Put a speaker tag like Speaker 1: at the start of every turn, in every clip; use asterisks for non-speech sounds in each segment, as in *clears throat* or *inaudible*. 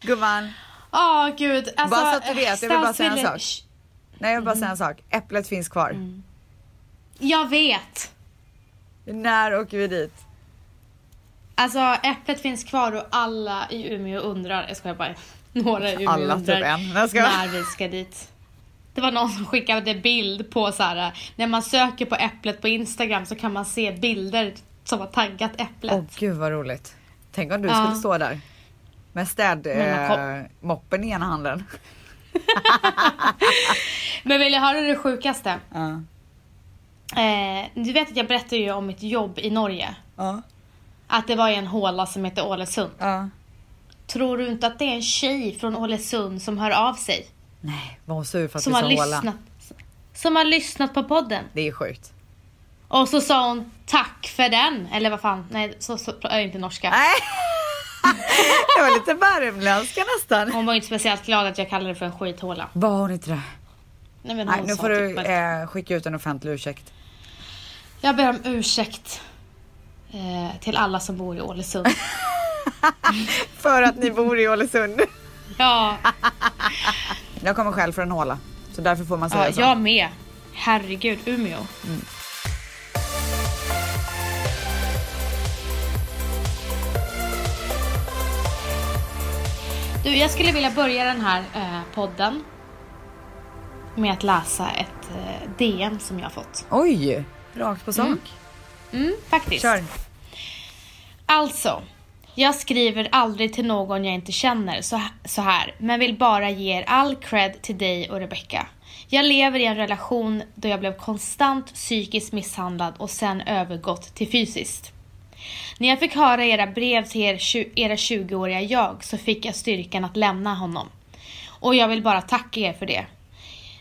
Speaker 1: Gumman,
Speaker 2: Åh gud. Alltså,
Speaker 1: Bara så att du vet, jag vill bara säga en
Speaker 2: stadsbilden-
Speaker 1: sak. nej jag vill bara
Speaker 2: Mm.
Speaker 1: säga en sak. Äpplet finns kvar.
Speaker 2: Jag vet.
Speaker 1: När åker vi dit?
Speaker 2: Alltså äpplet finns kvar och alla i Umeå undrar, jag skojar bara, några i Umeå
Speaker 1: Alla, typ
Speaker 2: undrar
Speaker 1: en. Nej, jag skojar.
Speaker 2: när vi ska dit. Det var någon som skickade bild på så här. när man söker på äpplet på Instagram så kan man se bilder som har taggat äpplet.
Speaker 1: Åh gud vad roligt. Tänk om du
Speaker 2: Ja.
Speaker 1: skulle stå där. Med
Speaker 2: Men man
Speaker 1: städmoppen eh, moppen i ena handen.
Speaker 2: Men vill jag höra det sjukaste?
Speaker 1: Ja.
Speaker 2: Eh, du vet att jag berättade ju om mitt jobb i Norge.
Speaker 1: Ja.
Speaker 2: Att det var i en håla som heter Ålesund.
Speaker 1: Ja.
Speaker 2: Tror du inte att det är en tjej från Ålesund som hör av sig?
Speaker 1: Nej, var hon sur för att
Speaker 2: Som
Speaker 1: vi
Speaker 2: har
Speaker 1: sa håla?
Speaker 2: lyssnat. Som har lyssnat på podden.
Speaker 1: Det är sjukt.
Speaker 2: Och så sa hon tack för den. Eller vad fan, nej så, så är inte norska.
Speaker 1: Nej. *laughs* Jag var lite värmländska nästan.
Speaker 2: Hon var ju inte speciellt glad att jag kallade det för en skithåla.
Speaker 1: Var hon inte det?
Speaker 2: Nej, men hon
Speaker 1: Nej, nu
Speaker 2: sa
Speaker 1: får
Speaker 2: typ
Speaker 1: du
Speaker 2: bara-
Speaker 1: eh, skicka ut en offentlig ursäkt.
Speaker 2: Jag ber om ursäkt eh, till alla som bor
Speaker 1: *laughs*
Speaker 2: i Ålesund.
Speaker 1: För att ni bor i Ålesund.
Speaker 2: ja,
Speaker 1: Jag kommer själv från håla. Så därför får man säga
Speaker 2: ja,
Speaker 1: så. Mm.
Speaker 2: jag med. Herregud, Umeå. Du, jag skulle vilja börja den här eh, podden med att läsa ett eh, DM som jag har fått.
Speaker 1: Oj! Rakt på sak.
Speaker 2: Mm, faktiskt.
Speaker 1: Kör.
Speaker 2: Alltså, jag skriver aldrig till någon jag inte känner så, så här, men vill bara ge er all cred till dig och Rebecca. Jag lever i en relation då jag blev konstant psykiskt misshandlad och sen övergått till fysiskt. När jag fick höra era brev till er, tju- era 20-åriga jag så fick jag styrkan att lämna honom. Och jag vill bara tacka er för det.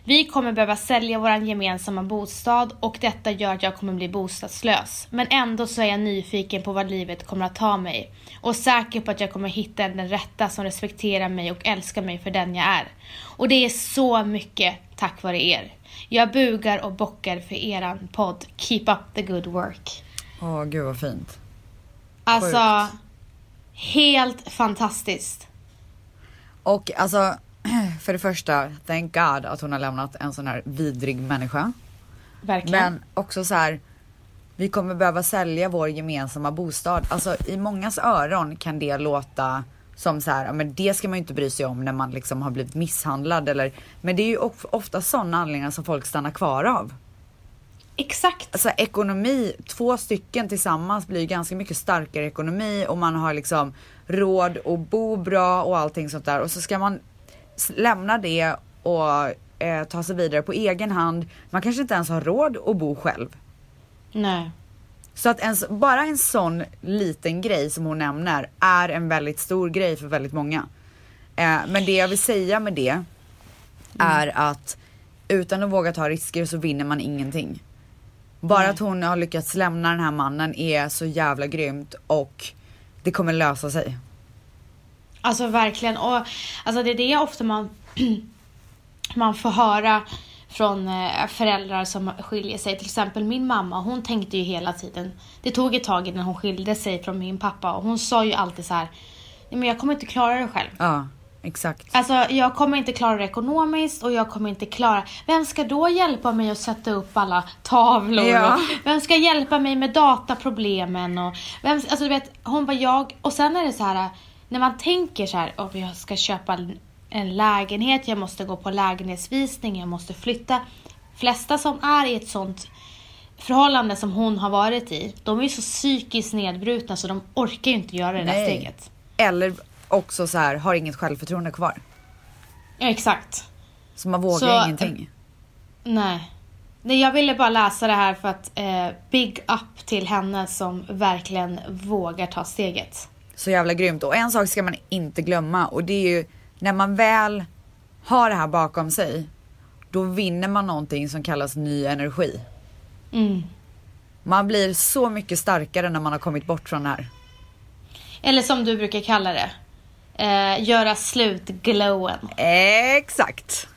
Speaker 2: Vi kommer behöva sälja vår gemensamma bostad och detta gör att jag kommer bli bostadslös. Men ändå så är jag nyfiken på vad livet kommer att ta mig. Och säker på att jag kommer hitta den rätta som respekterar mig och älskar mig för den jag är. Och det är så mycket tack vare er. Jag bugar och bockar för eran podd. Keep up the good work.
Speaker 1: Åh gud vad fint.
Speaker 2: Alltså, helt fantastiskt.
Speaker 1: Och alltså, *clears throat* för det första, thank God att hon har lämnat en sån här vidrig människa.
Speaker 2: Verkligen.
Speaker 1: Men också så här, vi kommer behöva sälja vår gemensamma bostad. Alltså i mångas öron kan det låta som så här, ja, men det ska man ju inte bry sig om när man liksom har blivit misshandlad eller. Men det är ju of- ofta sådana anledningar som folk stannar kvar av.
Speaker 2: Exakt.
Speaker 1: Alltså ekonomi, två stycken tillsammans blir ju ganska mycket starkare ekonomi och man har liksom råd att bo bra och allting sånt där och så ska man s- lämna det och eh, ta sig vidare på egen hand. Man kanske inte ens har råd att bo själv.
Speaker 2: Nej.
Speaker 1: Så att ens, bara en sån liten grej som hon nämner är en väldigt stor grej för väldigt många. Eh, men det jag vill säga med det är att utan att våga ta risker så vinner man ingenting. Bara att hon har lyckats lämna den här mannen är så jävla grymt och det kommer lösa sig.
Speaker 2: Alltså verkligen. Och, alltså, det är det ofta man, *clears throat* man får höra från eh, föräldrar som skiljer sig. Till exempel min mamma, hon tänkte ju hela tiden. Det tog ett tag innan hon skilde sig från min pappa och hon sa ju alltid så här. "Nej, Men jag kommer inte klara det själv.
Speaker 1: Ja, exakt.
Speaker 2: Alltså jag kommer inte klara det ekonomiskt och jag kommer inte klara... Vem ska då hjälpa mig att sätta upp alla tavlor?
Speaker 1: Ja.
Speaker 2: Och vem ska hjälpa mig med dataproblemen? Och vem, alltså du vet, hon var jag... Och sen är det så här, när man tänker så här, om jag ska köpa en- en lägenhet, jag måste gå på lägenhetsvisning, jag måste flytta. Flesta som är i ett sånt förhållande som hon har varit i, de är ju så psykiskt nedbrutna så de orkar ju inte göra det där steget.
Speaker 1: Eller också så här, har inget självförtroende kvar.
Speaker 2: Ja, exakt.
Speaker 1: Så man vågar
Speaker 2: Så-
Speaker 1: ingenting.
Speaker 2: Nej. Nej, jag ville bara läsa det här för att eh, big up till henne som verkligen vågar ta steget.
Speaker 1: Så jävla grymt. Och en sak ska man inte glömma och det är ju när man väl har det här bakom sig, då vinner man någonting som kallas ny energi.
Speaker 2: Mm.
Speaker 1: Man blir så mycket starkare när man har kommit bort från det här.
Speaker 2: Eller som du brukar kalla det, eh, göra slut-glowen.
Speaker 1: Exakt.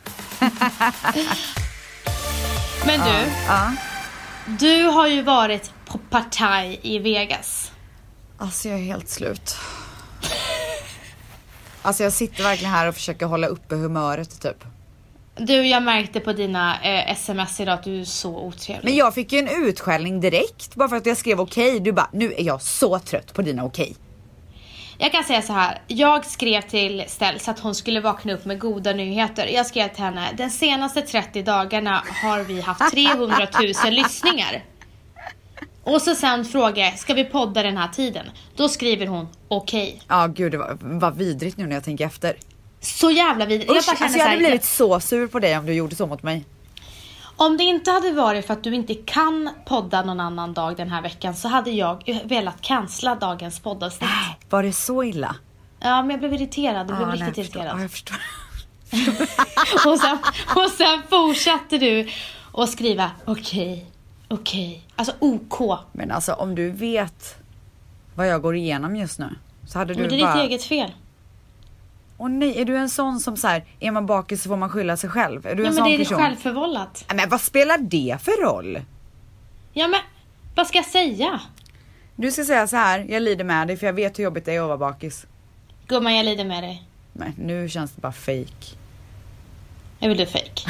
Speaker 2: Men du,
Speaker 1: Ja.
Speaker 2: du har ju varit på partaj i Vegas.
Speaker 1: Alltså jag är helt slut. Alltså jag sitter verkligen här och försöker hålla uppe humöret typ.
Speaker 2: Du, jag märkte på dina eh, sms idag att du är så otrevlig.
Speaker 1: Men jag fick ju en utskällning direkt bara för att jag skrev okej. Du bara, nu är jag så trött på dina okej.
Speaker 2: Jag kan säga så här. Jag skrev till Ställs att hon skulle vakna upp med goda nyheter. Jag skrev till henne, den senaste 30 dagarna har vi haft 300
Speaker 1: *laughs*
Speaker 2: 000 lyssningar. Och så sen frågade jag, ska vi podda den här tiden? Då skriver hon, okej.
Speaker 1: Ja gud det var, vad vidrigt nu när jag tänker efter.
Speaker 2: Så jävla vidrigt.
Speaker 1: Usch, jag,
Speaker 2: bara känner
Speaker 1: alltså
Speaker 2: så
Speaker 1: jag
Speaker 2: här,
Speaker 1: hade blivit så sur på dig om du gjorde så mot mig.
Speaker 2: Om det inte hade varit för att du inte kan podda någon annan dag den här veckan så hade jag velat cancella dagens poddavsnitt.
Speaker 1: Var det så illa?
Speaker 2: Ja, men jag blev irriterad. Jag blev
Speaker 1: nej,
Speaker 2: riktigt
Speaker 1: jag förstår.
Speaker 2: irriterad.
Speaker 1: Äh. Ja, jag förstår.
Speaker 2: *laughs* Och sen, och sen fortsatte du att skriva okej, okej. Alltså OK.
Speaker 1: Men alltså om du vet vad jag går igenom just nu så hade du
Speaker 2: Men det är ditt
Speaker 1: bara...
Speaker 2: eget fel.
Speaker 1: Åh nej, är du en sån som så här, är man bakis så får man skylla sig själv? Är du
Speaker 2: Ja,
Speaker 1: en
Speaker 2: men
Speaker 1: sån
Speaker 2: det är
Speaker 1: person?
Speaker 2: självförvållat.
Speaker 1: Nej, Men vad spelar det för roll?
Speaker 2: Ja, men vad ska jag säga?
Speaker 1: Du ska säga så här, jag lider med dig för jag vet hur jobbigt det är att vara bakis.
Speaker 2: Gumman, jag lider med dig.
Speaker 1: Nej, nu känns det bara fake.
Speaker 2: Är väl du fejk?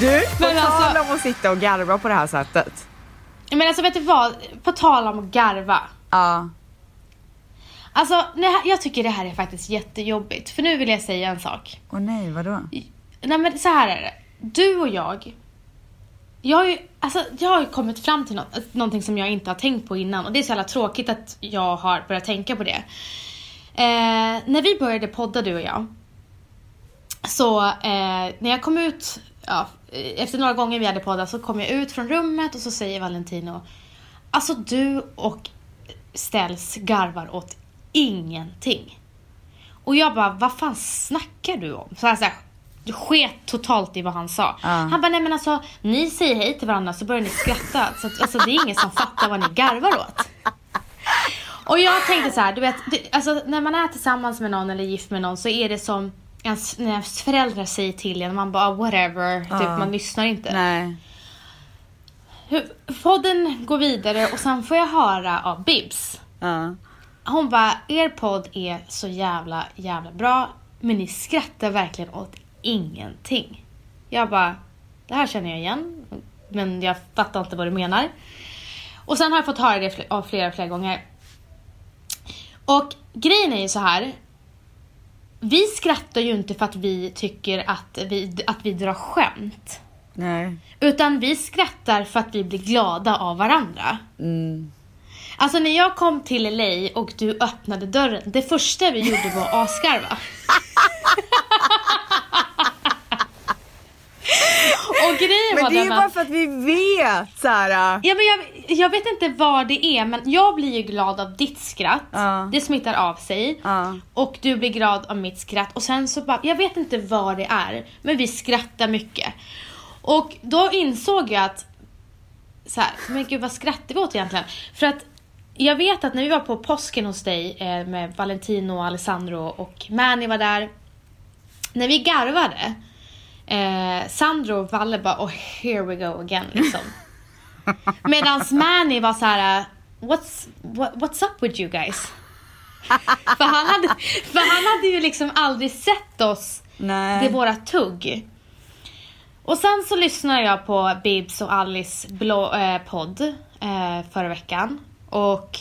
Speaker 1: Du, på
Speaker 2: Men alltså-
Speaker 1: tal om att sitta och garva på det här sättet.
Speaker 2: Men alltså vet du vad? På tal om att garva.
Speaker 1: Ja,
Speaker 2: Alltså, det här, jag tycker det här är faktiskt jättejobbigt. För nu vill jag säga en sak.
Speaker 1: åh nej, vadå?
Speaker 2: Nej men så här är det. Du och jag. Jag har ju, alltså, jag har ju kommit fram till något, någonting som jag inte har tänkt på innan. Och det är så jävla tråkigt att jag har börjat tänka på det. Eh, när vi började podda du och jag. Så eh, när jag kom ut, ja, eh, efter några gånger vi hade poddat så kom jag ut från rummet och så säger Valentino. Alltså du och Ställs garvar åt ingenting. Och jag bara, vad fan snackar du om? Så han så här, sket totalt i vad han sa. Han bara, nej men alltså ni säger hej till varandra så börjar ni skratta. Så att, alltså, det är ingen som fattar vad ni garvar åt. Och jag tänkte så här, du vet, det, alltså, när man är tillsammans med någon eller gift med någon så är det som ens, när ens föräldrar säger till en, man bara "Ah, whatever, typ, man lyssnar inte.
Speaker 1: Nej.
Speaker 2: Hur, podden går vidare och sen får jag höra av Bibs
Speaker 1: Ja.
Speaker 2: hon bara, er podd är så jävla, jävla bra, men ni skrattar verkligen åt ingenting. Jag bara, det här känner jag igen, men jag fattar inte vad du menar. Och sen har jag fått höra det fl- av flera, flera gånger. Och grejen är ju så här. Vi skrattar ju inte för att vi tycker att vi, att vi drar skämt.
Speaker 1: Nej.
Speaker 2: Utan vi skrattar för att vi blir glada av varandra.
Speaker 1: Mm.
Speaker 2: Alltså när jag kom till LA och du öppnade dörren, det första vi gjorde var
Speaker 1: *laughs*
Speaker 2: att asgarva. och grejen var
Speaker 1: Men det är ju
Speaker 2: den
Speaker 1: bara
Speaker 2: att...
Speaker 1: för att vi vet Sara.
Speaker 2: Ja, men jag, jag vet inte vad det är, men jag blir ju glad av ditt skratt.
Speaker 1: Ja.
Speaker 2: Det smittar av sig.
Speaker 1: Ja.
Speaker 2: Och du blir glad av mitt skratt. Och sen så bara, jag vet inte vad det är, men vi skrattar mycket. Och då insåg jag att, så här, men gud vad skrattar vi åt egentligen? För att jag vet att när vi var på påsken hos dig eh, med Valentino, Alessandro och Mani var där. När vi garvade, eh, Sandro och Valle bara oh here we go again liksom. Medan Mani var så här, uh, what's, what, what's up with you guys? För han, hade, för han hade ju liksom aldrig sett oss,
Speaker 1: Nej.
Speaker 2: det är våra tugg. Och sen så lyssnade jag på Bibs och Alice blå, eh, podd eh, förra veckan. Och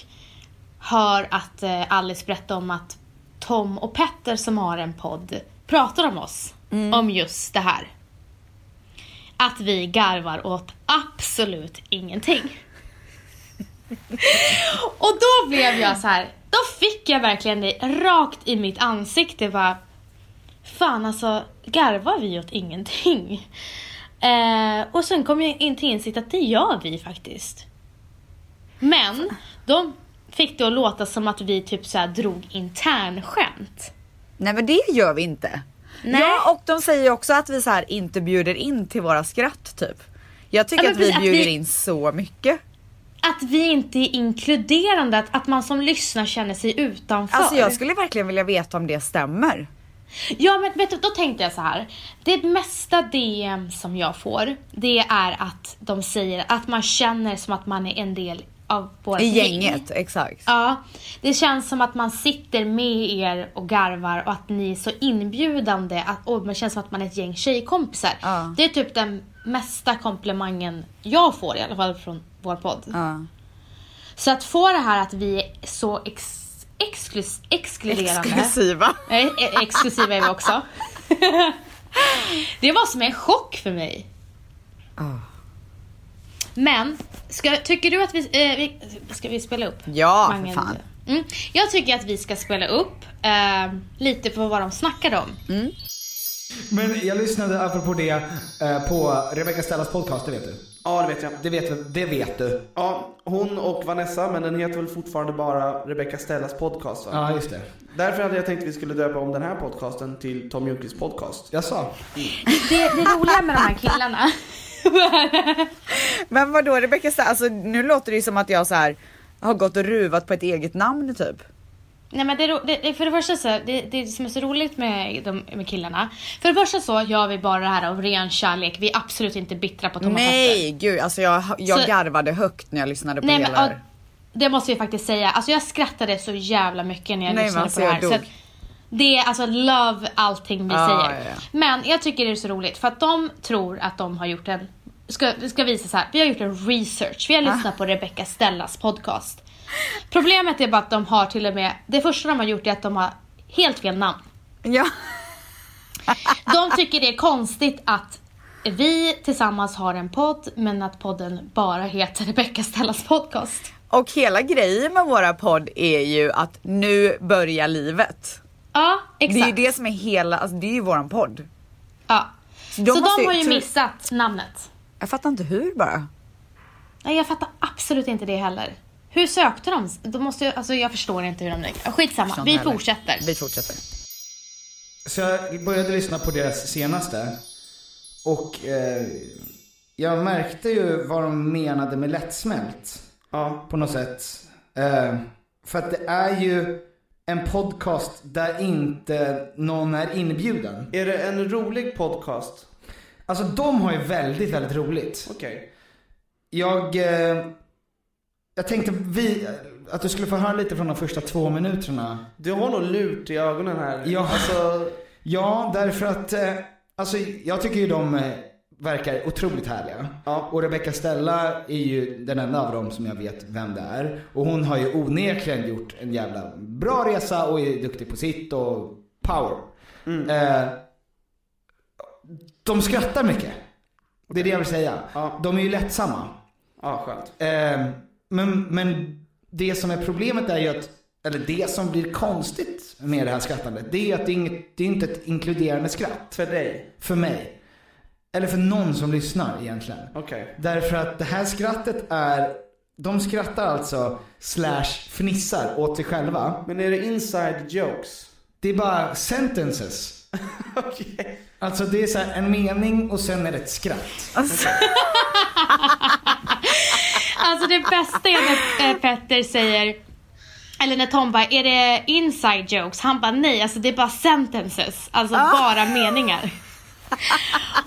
Speaker 2: hör att eh, Alice berättar om att Tom och Petter som har en podd pratar om oss. Om just det här. Att vi garvar åt absolut ingenting. och då blev jag så här. då fick jag verkligen det rakt i mitt ansikte bara Fan alltså, garvar vi åt ingenting? Eh, och sen kom jag in till insikt att det gör vi faktiskt. Men de fick det att låta som att vi typ så här drog internskämt.
Speaker 1: Nej men det gör vi inte.
Speaker 2: Nej.
Speaker 1: Ja, och de säger ju också att vi så här inte bjuder in till våra skratt typ. Jag tycker
Speaker 2: Ja, men
Speaker 1: att vi
Speaker 2: precis, att
Speaker 1: bjuder
Speaker 2: vi-
Speaker 1: in så mycket.
Speaker 2: Att vi inte är inkluderande, att, att man som lyssnar känner sig utanför.
Speaker 1: Alltså jag skulle verkligen vilja veta om det stämmer.
Speaker 2: Ja men vet du, då tänkte jag så här. Det mesta DM som jag får, det är att de säger att man känner som att man är en del av vårt
Speaker 1: I gänget, exakt.
Speaker 2: Ja, det känns som att man sitter med er och garvar och att ni är så inbjudande att, och man känns som att man är ett gäng tjejkompisar.
Speaker 1: Ja.
Speaker 2: Det är typ den mesta komplimangen jag får i alla fall från vår podd.
Speaker 1: Ja.
Speaker 2: Så att få det här att vi är så ex, exklus, exkluderande.
Speaker 1: Exklusiva.
Speaker 2: Nej, e- exklusiva är vi också. *laughs* det var som en chock för mig.
Speaker 1: Ah.
Speaker 2: Men, ska, tycker du att vi, eh, vi... Ska vi spela upp?
Speaker 1: Ja, för
Speaker 2: Mange-
Speaker 1: fan.
Speaker 2: Mm. Jag tycker att vi ska spela upp eh, lite på vad de snackade om.
Speaker 1: Mm.
Speaker 3: Men jag lyssnade, apropå det, eh, på Rebecca Stellas podcast, det vet du.
Speaker 4: Ja, det vet jag.
Speaker 3: Det vet, det vet du.
Speaker 4: Ja, hon och Vanessa, men den heter väl fortfarande bara Rebecca Stellas podcast va?
Speaker 3: Ja, just det.
Speaker 4: Därför hade jag tänkt att vi skulle döpa om den här podcasten till Tom Junkies podcast.
Speaker 3: Jag sa.
Speaker 2: *laughs* Det, det roliga med de här killarna *laughs*
Speaker 1: Men vadå Rebecca, Sta- alltså, nu låter det ju som att jag så här har gått och ruvat på ett eget namn typ.
Speaker 2: Nej men det, är ro- det, det- för det första så, det, det som är så roligt med, de, med killarna. För det första så gör vi bara det här av ren kärlek. Vi är absolut inte bittra på Tom och Petter.
Speaker 1: Nej gud, alltså jag, jag
Speaker 2: Så-
Speaker 1: garvade högt när jag lyssnade på
Speaker 2: Nej
Speaker 1: hela
Speaker 2: men
Speaker 1: det
Speaker 2: ja,
Speaker 1: här.
Speaker 2: det måste vi faktiskt säga. Alltså jag skrattade så jävla mycket när jag
Speaker 1: Nej, men
Speaker 2: lyssnade
Speaker 1: alltså,
Speaker 2: på det
Speaker 1: jag
Speaker 2: här. Så
Speaker 1: dog.
Speaker 2: att det är alltså love allting vi
Speaker 1: Ja,
Speaker 2: säger.
Speaker 1: ja, ja.
Speaker 2: Men jag tycker det är så roligt för att de tror att de har gjort en, ska, ska visa så här, vi har gjort en research. Vi har
Speaker 1: Ah.
Speaker 2: lyssnat på Rebecca Stellas podcast. Problemet är bara att de har till och med, det första de har gjort är att de har helt fel namn.
Speaker 1: Ja.
Speaker 2: De tycker det är konstigt att vi tillsammans har en podd men att podden bara heter Rebecca Stellas podcast.
Speaker 1: Och hela grejen med våra podd är ju att nu börjar livet.
Speaker 2: Ja,
Speaker 1: Det är
Speaker 2: exakt.
Speaker 1: ju det som är hela, alltså det är ju våran podd.
Speaker 2: Ja.
Speaker 1: de
Speaker 2: så
Speaker 1: måste
Speaker 2: de
Speaker 1: ju-
Speaker 2: har ju
Speaker 1: tror-
Speaker 2: missat namnet.
Speaker 1: Jag fattar inte hur bara.
Speaker 2: Nej, jag fattar absolut inte det heller. Hur sökte de? de måste ju, alltså, jag förstår inte hur de lägger. Skitsamma,
Speaker 1: Förstår
Speaker 2: vi
Speaker 1: inte heller.
Speaker 2: fortsätter.
Speaker 1: Vi fortsätter.
Speaker 3: Så jag började lyssna på deras senaste. Och eh, jag märkte ju vad de menade med lättsmält.
Speaker 4: Ja.
Speaker 3: På något sätt. Eh, för att det är ju en podcast där inte någon är inbjuden.
Speaker 4: Är det en rolig podcast?
Speaker 3: Alltså de har ju väldigt, väldigt roligt.
Speaker 4: Okej.
Speaker 3: Jag, eh, jag tänkte vi, att du skulle få höra lite från de första två minuterna.
Speaker 4: Du har nog lurt i ögonen här.
Speaker 3: Ja.
Speaker 4: Alltså,
Speaker 3: Ja, därför att eh, alltså, jag tycker ju de eh, verkar otroligt härliga.
Speaker 4: Ja.
Speaker 3: Och Rebecca Stella är ju den enda av dem som jag vet vem det är. Och hon har ju onekligen gjort en jävla bra resa och är duktig på sitt och power.
Speaker 4: Mm.
Speaker 3: Eh, de skrattar mycket. Det är det jag vill säga.
Speaker 4: Ja.
Speaker 3: De är ju lättsamma.
Speaker 4: ja skönt.
Speaker 3: Eh, men, men det som är problemet är ju att, eller det som blir konstigt med det här skrattandet, det är att det är, inget, det är inte ett inkluderande skratt.
Speaker 4: För dig.
Speaker 3: För mig. Eller för någon som lyssnar egentligen.
Speaker 4: Okej.
Speaker 3: Därför att det här skrattet är, de skrattar alltså, slash fnissar åt sig själva.
Speaker 4: Men är det inside jokes? *laughs*
Speaker 3: Det är bara sentences.
Speaker 4: Okej.
Speaker 3: Alltså det är så här en mening och sen är det ett skratt.
Speaker 1: Alltså,
Speaker 2: Alltså det bästa är när eh, Petter säger eller när Tom bara, är det inside jokes? Han bara, nej, alltså det är bara sentences. Alltså bara meningar.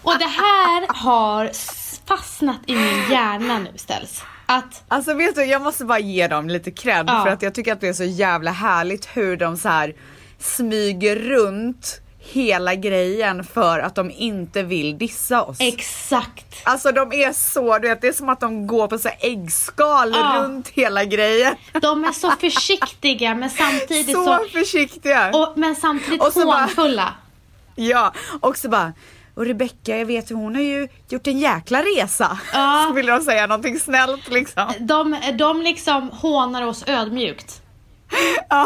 Speaker 2: Och det här har s- fastnat i min hjärna nu ställs. Att,
Speaker 1: alltså vet du, jag måste bara ge dem lite cred
Speaker 2: Ja.
Speaker 1: för att jag tycker att det är så jävla härligt hur de så här smyger runt hela grejen för att de inte vill dissa oss.
Speaker 2: exakt.
Speaker 1: Alltså de är så, du vet det är som att de går på så här äggskal
Speaker 2: Ja.
Speaker 1: runt hela grejen.
Speaker 2: De är så försiktiga men samtidigt
Speaker 1: Så,
Speaker 2: så,
Speaker 1: försiktiga.
Speaker 2: och, men samtidigt
Speaker 1: Och så bara-
Speaker 2: hånfulla.
Speaker 1: *laughs* Ja, och så bara och Rebecka, jag vet ju hon har ju gjort en jäkla resa.
Speaker 2: Ja.
Speaker 1: *laughs* Så vill de säga någonting snällt
Speaker 2: *laughs*
Speaker 1: liksom.
Speaker 2: De, de liksom hånar oss ödmjukt.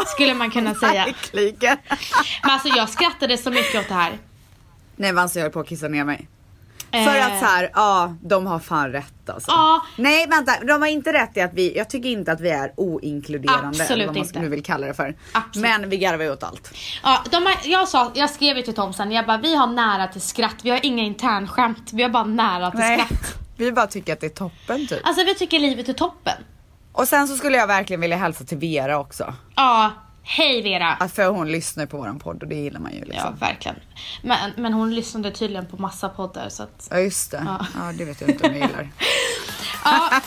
Speaker 2: Skulle man kunna säga. *laughs*
Speaker 1: Verkligen.
Speaker 2: Men alltså jag skrattade så mycket åt det här.
Speaker 1: Nej men alltså jag höll på att kissa ner mig. *laughs* För att så här, ja de har fan rätt alltså.
Speaker 2: Eh. Ja.
Speaker 1: Nej vänta, de har inte rätt i att vi, jag tycker inte att vi är oinkluderande.
Speaker 2: Absolut
Speaker 1: eller vad man
Speaker 2: inte.
Speaker 1: nu vill kalla det för.
Speaker 2: Absolut.
Speaker 1: Men vi garvar ju åt allt.
Speaker 2: Eh, Ja, de har, jag, sa, jag skrev ju till Tom sen, jag bara vi har nära till skratt, vi har inga internskämt, vi har bara nära till
Speaker 1: Nej.
Speaker 2: skratt.
Speaker 1: *laughs* Vi bara tycker att det är toppen typ.
Speaker 2: Alltså vi tycker livet är toppen.
Speaker 1: Och sen så skulle jag verkligen vilja hälsa till Vera också.
Speaker 2: Ja, hej Vera.
Speaker 1: Att för hon lyssnar på våran podd och det gillar man ju
Speaker 2: Ja,
Speaker 1: liksom.
Speaker 2: verkligen. Men, men hon lyssnade tydligen på massa poddar så att...
Speaker 1: Ja, just det. Ja. det vet jag inte om jag gillar.
Speaker 2: Ja.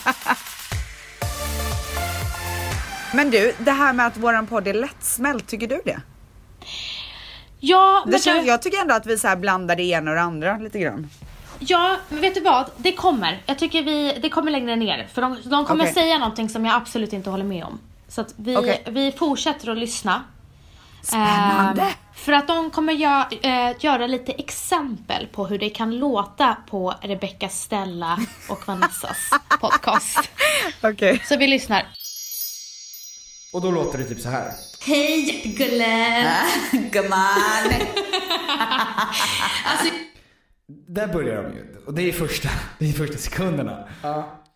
Speaker 1: Men du, det här med att våran podd är lättsmält, tycker du det?
Speaker 2: *laughs* Ja, men
Speaker 1: det känns,
Speaker 2: du,
Speaker 1: jag tycker ändå att vi så här blandar det ena och det andra lite grann.
Speaker 2: ja, men vet du vad? Det kommer. Jag tycker vi, det kommer längre ner. För de, de kommer
Speaker 1: Okej.
Speaker 2: säga någonting som jag absolut inte håller med om. Så att vi,
Speaker 1: Okej.
Speaker 2: vi fortsätter att lyssna.
Speaker 1: Spännande!
Speaker 2: Ehm, för att de kommer gö eh, göra lite exempel på hur det kan låta på Rebecca Stella och
Speaker 1: *laughs*
Speaker 2: Vanessas podcast.
Speaker 1: Okej.
Speaker 2: Så vi lyssnar.
Speaker 3: Och då låter det typ så här.
Speaker 2: Hej jättegullen!
Speaker 1: Gumman!
Speaker 2: Alltså,
Speaker 3: Där börjar de ju. Och det är första, *laughs* det är första sekunderna.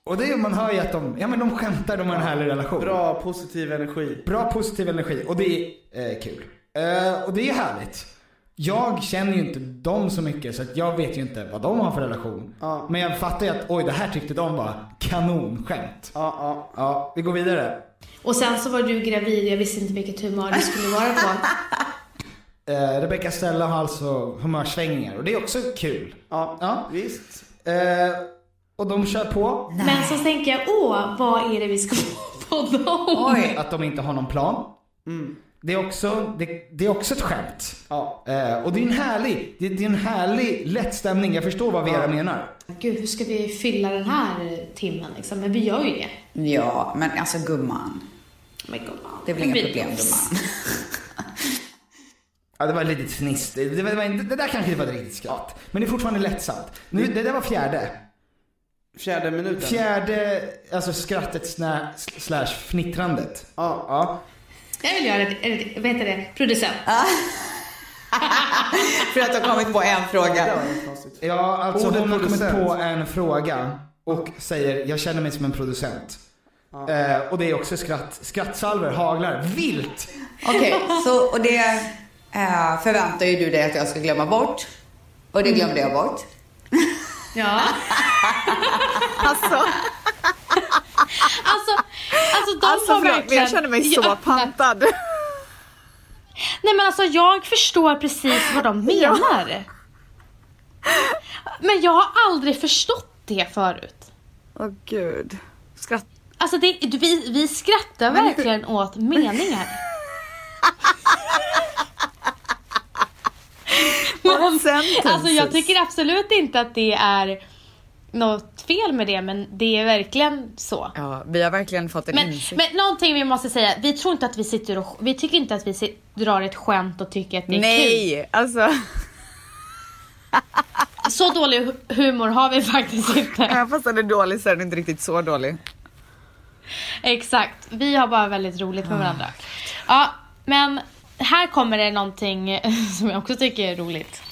Speaker 3: Och det är, man hör ju att de, ja men de skämtar, de har en härlig relation.
Speaker 4: Bra, positiv energi.
Speaker 3: Bra positiv energi och det är eh, kul. Eh, och det är härligt. Jag känner ju inte dem så mycket så att jag vet ju inte vad de har för relation.
Speaker 4: Ja.
Speaker 3: Men jag fattar ju att oj det här tyckte de var kanonskämt.
Speaker 4: Ja, ja.
Speaker 3: Ja, vi går vidare.
Speaker 2: Och sen så var du gravid jag visste inte vilket humör du skulle
Speaker 1: *laughs*
Speaker 2: vara på.
Speaker 3: Eh, Rebecca Stella har alltså humörsvängningar och det är också kul.
Speaker 4: Ja,
Speaker 3: Ja.
Speaker 4: visst.
Speaker 3: Eh, och de kör på
Speaker 2: Men så tänker jag, åh, vad är det vi ska *laughs* podda om?
Speaker 1: Oj!
Speaker 3: att de inte har någon plan. Det, är också, det, det är också ett skämt.
Speaker 4: Ja.
Speaker 3: Eh, och det är en härlig, det, det är en härlig lätt stämning. Jag förstår vad Vera menar.
Speaker 2: Gud, hur ska vi fylla den här timmen liksom? Men vi gör ju det.
Speaker 1: Ja, men alltså gumman.
Speaker 2: Men gumman.
Speaker 1: Det är väl inga
Speaker 2: Vi-
Speaker 1: problem gumman.
Speaker 3: Ja, det var lite fniss. Det, det, var, det där kanske inte var ett riktigt skratt. Men det är fortfarande lättsamt. Nu, det där var fjärde.
Speaker 4: Fjärde minuten.
Speaker 3: Fjärde, alltså skrattet snä, slash fnittrandet.
Speaker 4: Ja.
Speaker 3: Ja.
Speaker 2: Jag vill göra ett, ett, vad heter det, producent.
Speaker 1: *laughs* För att du har kommit på en
Speaker 4: Det
Speaker 1: fråga.
Speaker 4: var inte konstigt.
Speaker 3: Ja, alltså
Speaker 4: Ordet
Speaker 3: hon har kommit
Speaker 4: producent.
Speaker 3: på en fråga och säger jag känner mig som en producent. Eh, och det är också skratt, skrattsalver haglar vilt.
Speaker 1: Okej, så och det eh, förväntar ju du dig att jag ska glömma bort. Och det glömde jag bort.
Speaker 2: Ja.
Speaker 1: *laughs* Alltså,
Speaker 2: Alltså, alltså de har verkligen... Ja,
Speaker 1: pantad.
Speaker 2: Nej men alltså jag förstår precis vad de
Speaker 1: Ja.
Speaker 2: menar. Men jag har aldrig förstått det förut.
Speaker 1: Åh gud. Skratt.
Speaker 2: Alltså det, vi, vi skrattar verkligen åt meningar. Men,
Speaker 1: sentences.
Speaker 2: alltså jag tycker absolut inte att det är något fel med det men det är verkligen så.
Speaker 1: Ja, vi har verkligen fått en
Speaker 2: Men,
Speaker 1: insikt.
Speaker 2: men någonting vi måste säga, vi tror inte att vi sitter och, vi tycker inte att vi sit, drar ett skämt och tycker att det är kul.
Speaker 1: Nej, alltså. *laughs*
Speaker 2: Så dålig hu- humor har vi
Speaker 1: *laughs*
Speaker 2: faktiskt inte.
Speaker 1: Även fast den är dålig så är den inte riktigt så dålig.
Speaker 2: Exakt, vi har bara väldigt roligt med varandra.
Speaker 1: Ah,
Speaker 2: Ja, men här kommer det någonting *laughs* som jag också tycker är roligt.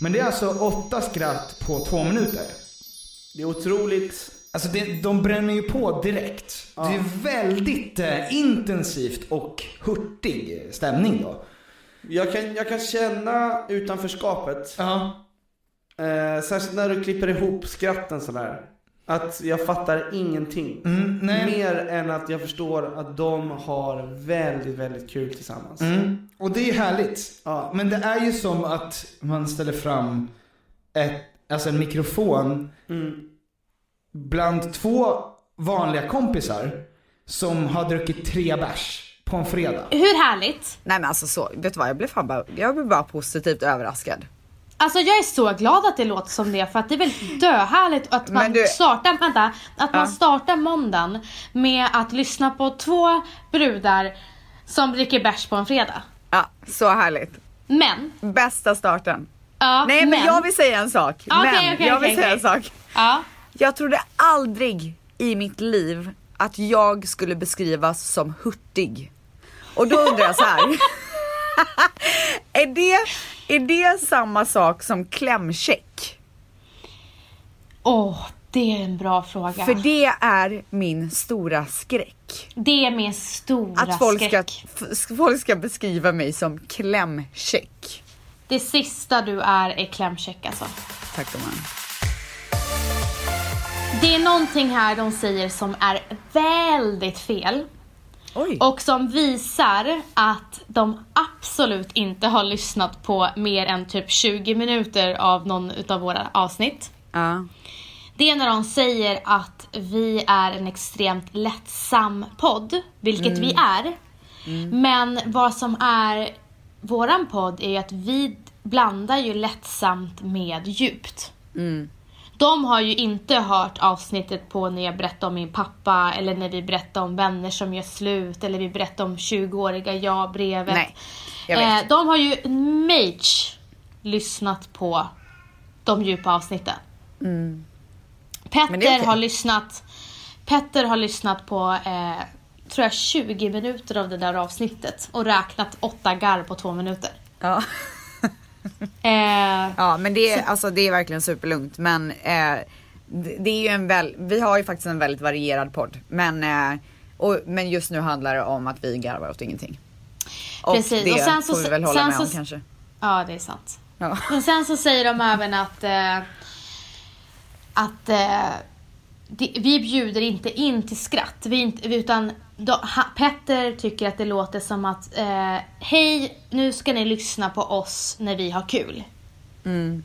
Speaker 3: Men det är alltså åtta skratt på två minuter.
Speaker 4: Det är otroligt.
Speaker 3: Alltså det, de bränner ju på direkt. Det är väldigt eh, intensivt och hurtig stämning då.
Speaker 4: Jag kan, jag kan känna utanförskapet.
Speaker 3: Ja.
Speaker 4: Eh, särskilt när du klipper ihop skratten sådär. Att jag fattar ingenting.
Speaker 3: Mm, nej.
Speaker 4: Mer än att jag förstår att de har väldigt, väldigt kul tillsammans.
Speaker 3: Mm. Och det är härligt.
Speaker 4: Ja.
Speaker 3: Men det är ju som att man ställer fram ett, alltså en mikrofon
Speaker 4: Mm.
Speaker 3: bland två vanliga kompisar som har druckit tre bärs på en fredag.
Speaker 2: Hur härligt?
Speaker 1: Nej men alltså så, vet du vad jag blev fan bara, jag blev bara positivt överraskad.
Speaker 2: Alltså jag är så glad att det låter som det för att det är väldigt döhärligt att man
Speaker 1: Men du-
Speaker 2: startar, vänta, att man
Speaker 1: Ja.
Speaker 2: startar måndagen med att lyssna på två brudar som dricker bärs på en fredag.
Speaker 1: Ja, så härligt.
Speaker 2: Men,
Speaker 1: Bästa starten.
Speaker 2: ja,
Speaker 1: Nej men,
Speaker 2: men
Speaker 1: jag vill säga en sak. men
Speaker 2: okej, okej,
Speaker 1: jag vill
Speaker 2: okej,
Speaker 1: säga
Speaker 2: okej.
Speaker 1: en sak.
Speaker 2: ja.
Speaker 1: Jag trodde aldrig i mitt liv att jag skulle beskrivas som hurtig. Och då undrar jag så här. *laughs* är, det, är det samma sak som klämkäck?
Speaker 2: Åh, det är en bra fråga.
Speaker 1: För det är min stora skräck.
Speaker 2: det är min stora
Speaker 1: Att folk ska,
Speaker 2: skräck.
Speaker 1: f- folk ska beskriva mig som klämkäck.
Speaker 2: Det sista du är är klämkäck alltså.
Speaker 1: Tack gumman.
Speaker 2: Det är någonting här de säger som är väldigt fel
Speaker 1: Oj.
Speaker 2: och som visar att de absolut inte har lyssnat på mer än typ 20 minuter av någon utav våra avsnitt.
Speaker 1: Ja.
Speaker 2: Det är när de säger att vi är en extremt lättsam podd, vilket vi
Speaker 1: Mm.
Speaker 2: är. Men vad som är våran podd är ju att vi blandar ju lättsamt med djupt.
Speaker 1: Mm.
Speaker 2: De har ju inte hört avsnittet på när jag berättade om min pappa eller när vi berättade om vänner som gör slut eller vi berättade om 20-åriga jag-brevet.
Speaker 1: Nej, jag vet.
Speaker 2: Eh, de har ju mage lyssnat på de djupa avsnitten.
Speaker 1: Men
Speaker 2: Petter
Speaker 1: det är okej.
Speaker 2: har lyssnat Petter har lyssnat på eh, tror jag 20 minuter av det där avsnittet och räknat åtta garv på två minuter.
Speaker 1: Ja. *laughs*
Speaker 2: Eh,
Speaker 1: Ja men det är, alltså, det är verkligen superlugnt men eh, det, det är ju en väl, vi har ju faktiskt en väldigt varierad podd men, eh, och, men just nu handlar det om att vi garvar åt ingenting. Och
Speaker 2: Precis,
Speaker 1: det
Speaker 2: och sen så-
Speaker 1: får vi väl hålla
Speaker 2: sen
Speaker 1: med
Speaker 2: så-
Speaker 1: om kanske.
Speaker 2: ja, det är sant.
Speaker 1: Ja.
Speaker 2: Men sen så säger de även att, eh, att eh, det, vi bjuder inte in till skratt. Vi är inte, utan då, ha, Petter tycker att det låter som att eh, hej, nu ska ni lyssna på oss när vi har kul.
Speaker 1: Mm.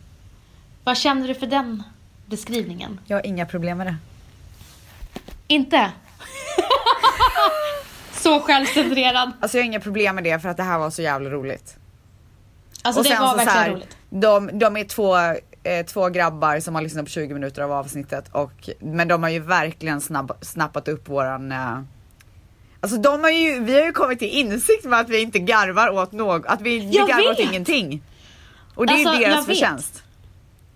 Speaker 2: Vad känner du för den beskrivningen?
Speaker 1: Jag har inga problem med det.
Speaker 2: Inte? *laughs* så självcentrerad.
Speaker 1: Alltså jag har inga problem med det för att det här var så jävla roligt.
Speaker 2: Alltså det var verkligen
Speaker 1: såhär,
Speaker 2: roligt.
Speaker 1: De, de är två, eh, två grabbar som har lyssnat på 20 minuter av avsnittet och, men de har ju verkligen snabb, snappat upp våran eh, Alltså de har ju, vi har ju kommit till insikt med att vi inte garvar åt något, att vi, vi
Speaker 2: Jag
Speaker 1: garvar åt
Speaker 2: vet!
Speaker 1: ingenting. Och det är
Speaker 2: Alltså,
Speaker 1: ju
Speaker 2: jag
Speaker 1: deras
Speaker 2: vet.
Speaker 1: förtjänst.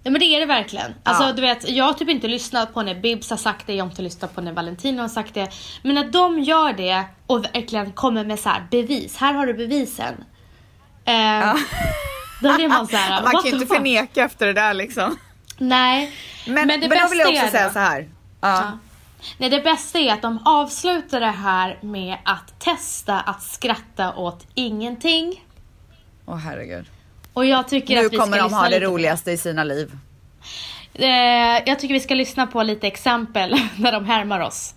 Speaker 2: Ja men det är det verkligen. Alltså
Speaker 1: Ja.
Speaker 2: du vet, jag har typ inte lyssnat på när Bibs har sagt det, jag har inte lyssnat på när Valentino har sagt det. Men att de gör det och verkligen kommer med så här bevis, här har du bevisen. Eh, *laughs* Då blir man såhär,
Speaker 1: *laughs* Man kan
Speaker 2: what
Speaker 1: ju
Speaker 2: the
Speaker 1: inte
Speaker 2: fuck?
Speaker 1: förneka efter det där liksom.
Speaker 2: Nej.
Speaker 1: Men, men, då vill jag också
Speaker 2: är
Speaker 1: säga
Speaker 2: då-
Speaker 1: så här. Ja.
Speaker 2: Ja. Nej, det bästa är att de avslutar det här med att testa att skratta åt ingenting.
Speaker 1: Åh herregud.
Speaker 2: Och jag tycker
Speaker 1: Nu
Speaker 2: att vi ska
Speaker 1: kommer de
Speaker 2: lyssna
Speaker 1: ha det
Speaker 2: lite på
Speaker 1: roligaste i sina liv.
Speaker 2: Eh, jag tycker vi ska lyssna på lite exempel *laughs* när de härmar oss.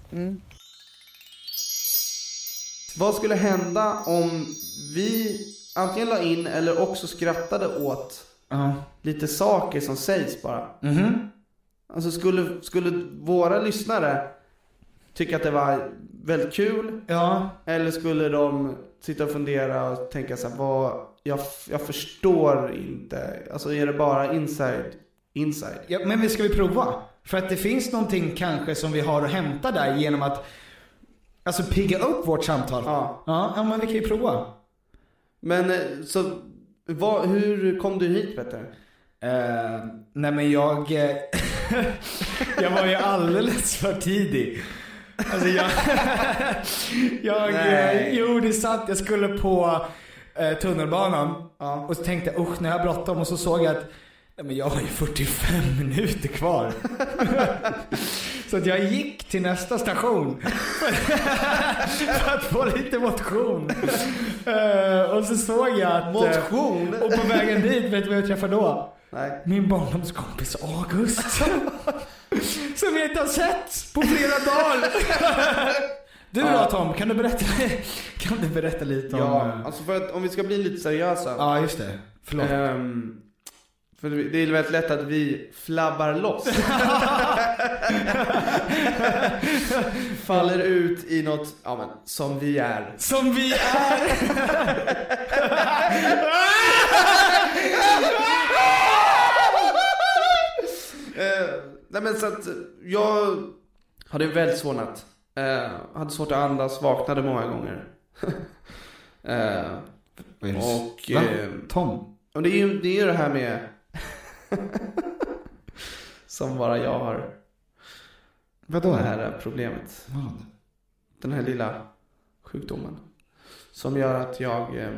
Speaker 4: Vad skulle hända om vi antingen la in eller också skrattade åt
Speaker 3: Ja.
Speaker 4: lite saker som sägs bara?
Speaker 3: Mhm.
Speaker 4: Alltså skulle, skulle våra lyssnare tycka att det var väldigt kul?
Speaker 3: Ja.
Speaker 4: Eller skulle de sitta och fundera och tänka så här, vad, jag, jag förstår inte. Alltså är det bara inside, inside?
Speaker 3: Ja, men vi ska vi prova? För att det finns någonting kanske som vi har att hämta där genom att alltså pigga upp vårt samtal.
Speaker 4: Ja.
Speaker 3: Ja, ja, men vi kan ju prova.
Speaker 4: Men eh, så, vad, hur kom du hit Petter?
Speaker 3: Eh, nej men jag... eh, *laughs* jag var ju alldeles för tidig. Alltså jag... *laughs* jag eh,
Speaker 4: Nej.
Speaker 3: jo det är sant, jag skulle på eh, tunnelbanan.
Speaker 4: Ja.
Speaker 3: Och så tänkte jag usch nu har jag bråttom och så såg jag att nej men jag har ju 45 *laughs* minuter
Speaker 4: *laughs*
Speaker 3: kvar. så att jag gick till nästa station. *laughs* för att få lite motion. Eh, och så såg jag att... eh,
Speaker 4: Motion?
Speaker 3: och på vägen dit, vet du vad jag träffade då?
Speaker 4: *laughs* Nej.
Speaker 3: Min barndomskompis August. *laughs* Som jag inte har sett på flera dagar. *laughs* Du då Tom, kan du berätta, *laughs* kan du berätta lite om...
Speaker 4: Ja,
Speaker 3: eh,
Speaker 4: alltså för att om vi ska bli lite seriösa.
Speaker 3: ja just det. Förlåt.
Speaker 4: Ehm, för det är väldigt lätt att vi
Speaker 3: *laughs*
Speaker 4: flabbar loss. *laughs* Faller ut i något, ja men, som vi är.
Speaker 3: Som vi är.
Speaker 4: Eh, nej men så att jag hade en väldigt svår natt. Eh, hade svårt att andas, vaknade många gånger. *laughs* eh, och,
Speaker 3: Va?
Speaker 4: eh,
Speaker 3: Tom?
Speaker 4: och det är ju det, är ju det här med *laughs* som bara jag har
Speaker 3: Vadå?
Speaker 4: det här problemet.
Speaker 3: Vad?
Speaker 4: Den här lilla sjukdomen. Som gör att jag, eh,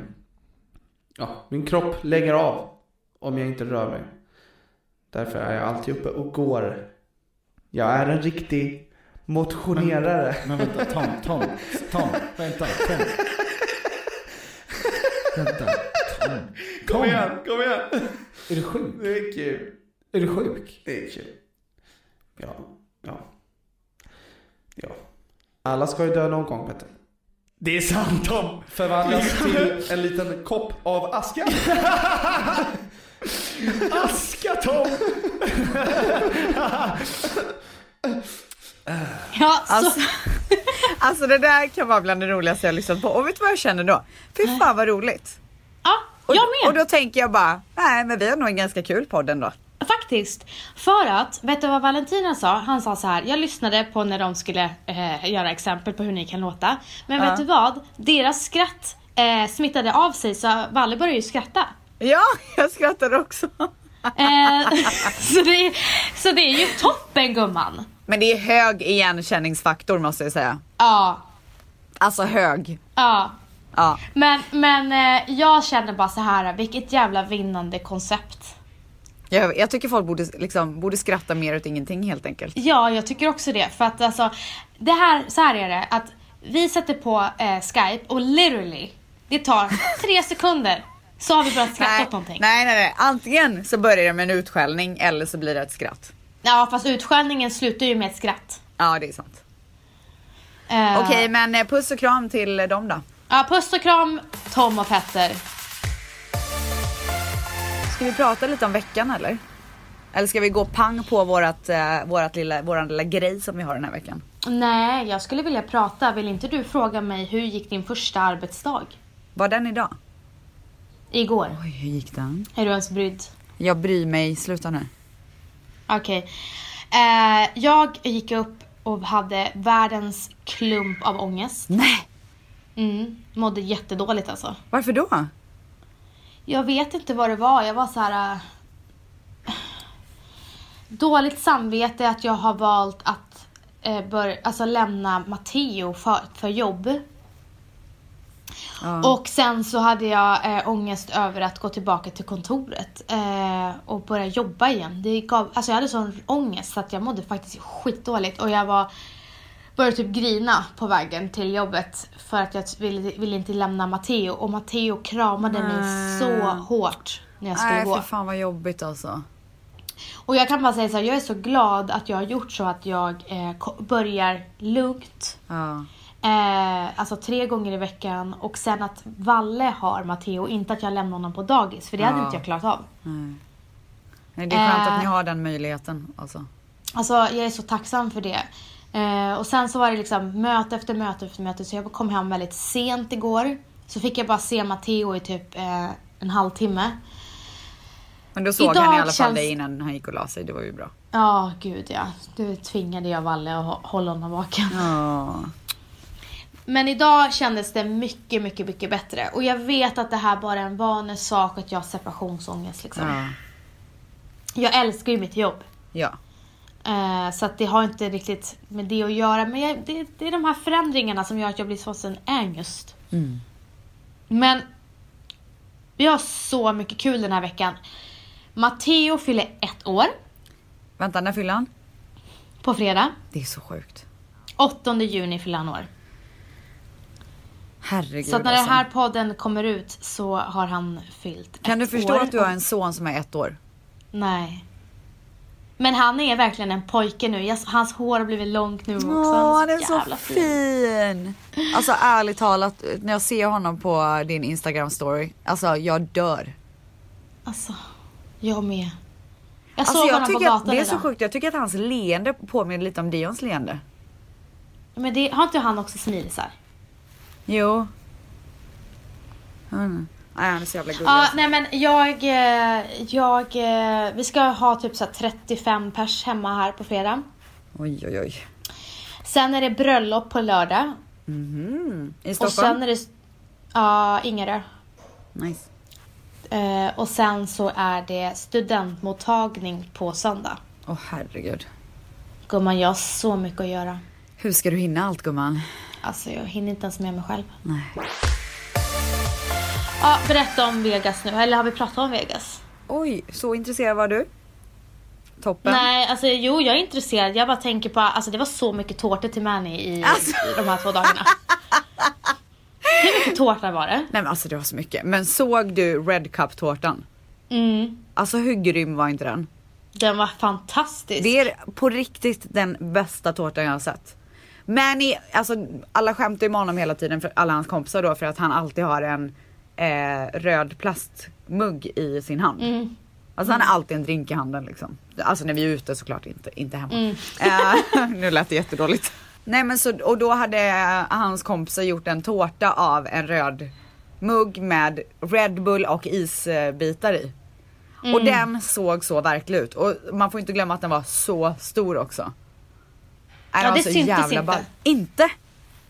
Speaker 4: ja, min kropp lägger av om jag inte rör mig. Därför är jag alltid uppe och går. Jag är en riktig motionerare.
Speaker 3: Men vänta, Tom, Tom, Tom, vänta, Tom. Vänta, Tom. Tom,
Speaker 4: *laughs* Kom igen, kom igen!
Speaker 3: är du sjuk?
Speaker 4: Det är kul.
Speaker 3: Är du sjuk?
Speaker 4: Det är kul. Ja, ja. Ja. Alla ska ju dö någon gång Petter.
Speaker 3: Det är sant om.
Speaker 4: Förvandlas till en liten kopp av aska.
Speaker 3: Aska Tom!
Speaker 2: Ja, så,
Speaker 1: Alltså, *laughs* alltså det där kan vara bland det roligaste jag har lyssnat på. Och vet du vad jag känner då? Fy fan vad roligt.
Speaker 2: *laughs* ja
Speaker 1: Och,
Speaker 2: jag
Speaker 1: och
Speaker 2: med.
Speaker 1: då tänker jag bara, nej men vi har nog en ganska kul podd ändå.
Speaker 2: Faktiskt. För att, vet du vad Valentina sa? Han sa så här, jag lyssnade på när de skulle eh, göra exempel på hur ni kan låta. Men
Speaker 1: Ja.
Speaker 2: vet du vad? Deras skratt eh, smittade av sig så Valle började ju skratta.
Speaker 1: Ja, *laughs* jag skrattade också.
Speaker 2: Eh, *laughs* så, det, så det är ju toppen gumman.
Speaker 1: Men det är hög igenkänningsfaktor måste jag säga.
Speaker 2: Ja,
Speaker 1: Alltså hög.
Speaker 2: ja.
Speaker 1: Ja.
Speaker 2: Men, men eh, jag känner bara så här, vilket jävla vinnande koncept.
Speaker 1: Jag, jag tycker folk borde, liksom, borde skratta mer åt ingenting helt enkelt.
Speaker 2: Ja, jag tycker också det. För att alltså, det här, så här är det. Att vi sätter på eh, Skype och literally, det tar *laughs* tre sekunder. Så har vi börjat skratta
Speaker 1: Nej,
Speaker 2: åt
Speaker 1: nej,
Speaker 2: någonting.
Speaker 1: nej, nej. Antingen så börjar det med en utskällning eller så blir det ett skratt.
Speaker 2: Ja, fast utskällningen slutar ju med ett skratt.
Speaker 1: Ja, det är sant.
Speaker 2: Eh,
Speaker 1: Okej, men eh, puss och kram till eh, dem då.
Speaker 2: Ja, puss och kram, Tom och Petter.
Speaker 1: Ska vi prata lite om veckan eller? Eller ska vi gå pang på vårat, eh, vårat lilla, våran lilla grej som vi har den här veckan?
Speaker 2: Nej, jag skulle vilja prata. Vill inte du fråga mig hur gick din första arbetsdag?
Speaker 1: Var den idag?
Speaker 2: Igår.
Speaker 1: Oj, hur gick den?
Speaker 2: Är du ens brydd?
Speaker 1: Jag bryr mig, sluta nu.
Speaker 2: Okej. Eh, jag gick upp och hade världens klump av ångest.
Speaker 1: Nej,
Speaker 2: Mm. Mådde jättedåligt alltså.
Speaker 1: varför då?
Speaker 2: Jag vet inte vad det var. Jag var så här... eh, dåligt samvete att jag har valt att eh, bör, alltså lämna Matteo för, för jobb.
Speaker 1: Ja.
Speaker 2: Och sen så hade jag eh, ångest över att gå tillbaka till kontoret eh, och börja jobba igen. Det gav, alltså jag hade sån ångest att jag mådde faktiskt skitdåligt och jag var började typ grina på vägen till jobbet för att jag ville, ville inte lämna Matteo och Matteo kramade mig så hårt när jag skulle
Speaker 1: Nej,
Speaker 2: gå.
Speaker 1: för fan vad jobbigt alltså.
Speaker 2: Och jag kan bara säga så här, jag är så glad att jag har gjort så att jag eh, ko- börjar lugnt
Speaker 1: Ja.
Speaker 2: Eh, alltså tre gånger i veckan och sen att Valle har Matteo, inte att jag lämnar honom på dagis för det hade
Speaker 1: Ja.
Speaker 2: inte jag klarat av.
Speaker 1: Nej. Nej, det är skönt
Speaker 2: Eh.
Speaker 1: att ni har den möjligheten alltså.
Speaker 2: Alltså jag är så tacksam för det. Eh, och sen så var det liksom möte efter möte efter möte så jag kom hem väldigt sent igår. Så fick jag bara se Matteo i typ eh, en halvtimme.
Speaker 1: Men då såg
Speaker 2: Idag
Speaker 1: han i alla fall
Speaker 2: känns-
Speaker 1: dig innan han gick och la sig, det var ju bra.
Speaker 2: Ja, gud ja. Du tvingade jag Valle att hå- hålla honom vaken.
Speaker 1: Ja.
Speaker 2: Men idag kändes det mycket, mycket, mycket bättre. Och jag vet att det här bara är en vanesak att jag har separationsångest liksom.
Speaker 1: Ja.
Speaker 2: Jag älskar ju mitt jobb.
Speaker 1: ja.
Speaker 2: Eh, så att det har inte riktigt med det att göra. Men jag, det, det är de här förändringarna som gör att jag blir såsen ängest. Men vi har så mycket kul den här veckan. Matteo fyller ett år
Speaker 1: Vänta, när fyller han?
Speaker 2: på fredag.
Speaker 1: Det är så sjukt.
Speaker 2: 8 juni fyller han år.
Speaker 1: Herregud
Speaker 2: så att när
Speaker 1: alltså.
Speaker 2: den här podden kommer ut så har han fyllt
Speaker 1: Kan du
Speaker 2: ett
Speaker 1: förstå
Speaker 2: år.
Speaker 1: att du har en son som är ett år?
Speaker 2: Nej. Men han är verkligen en pojke nu. Jag- Hans hår har blivit långt nu också.
Speaker 1: Åh, han är så
Speaker 2: jävla
Speaker 1: fin! Alltså ärligt talat, när jag ser honom på din Instagram story, alltså jag dör.
Speaker 2: Alltså, jag med. Jag
Speaker 1: Alltså
Speaker 2: såg
Speaker 1: jag
Speaker 2: honom på
Speaker 1: tycker
Speaker 2: gatan
Speaker 1: att, det är så
Speaker 2: idag.
Speaker 1: sjukt, jag tycker att hans leende påminner lite om Dions leende.
Speaker 2: Men det, har inte han också smilisar?
Speaker 1: Jo. Mm. Nej, han är så jävla gullig.
Speaker 2: Ja,
Speaker 1: alltså.
Speaker 2: nej men jag, eh, jag, eh, vi ska ha typ så här 35 pers hemma här på fredag.
Speaker 1: Oj, oj, oj.
Speaker 2: Sen är det bröllop på lördag.
Speaker 1: Mhm. I
Speaker 2: Mm. Och
Speaker 1: Stockholm?
Speaker 2: sen är det, ja, Ingarö.
Speaker 1: Nice.
Speaker 2: Eh, och sen så är det studentmottagning på söndag.
Speaker 1: Åh herregud.
Speaker 2: Gumman, jag har så mycket att göra.
Speaker 1: Hur ska du hinna allt gumman?
Speaker 2: Alltså, jag hinner inte ens med mig själv.
Speaker 1: Nej.
Speaker 2: Ja, berätta om Vegas nu. Eller har vi pratat om Vegas?
Speaker 1: Oj, så intresserad var du. Toppen.
Speaker 2: Nej, alltså jo jag är intresserad. Jag bara tänker på, alltså det var så mycket tårta till Mani i,
Speaker 1: Alltså.
Speaker 2: i de här två *laughs* dagarna. Hur mycket tårta var det?
Speaker 1: Nej men alltså det var så mycket. Men såg du Red Cup tårtan?
Speaker 2: Mm,
Speaker 1: Alltså hur grym var inte den?
Speaker 2: den var fantastisk.
Speaker 1: Det är på riktigt den bästa tårtan jag har sett. Manny, alltså alla skämtar ju med honom hela tiden, för alla hans kompisar då, för att han alltid har en eh, röd plastmugg i sin hand.
Speaker 2: Mm.
Speaker 1: Alltså han har alltid en drink i handen liksom. Alltså när vi är ute såklart, inte, inte hemma. Eh, *laughs* nu lät det jättedåligt. Nej men så, och då hade hans kompisar gjort en tårta av en röd mugg med Red Bull och isbitar i.
Speaker 2: Mm.
Speaker 1: Och den såg så verklig ut. Och man får inte glömma att den var så stor också. Nej, den
Speaker 2: Ja,
Speaker 1: var
Speaker 2: det
Speaker 1: så
Speaker 2: syntes
Speaker 1: jävla
Speaker 2: inte.
Speaker 1: ball. Inte?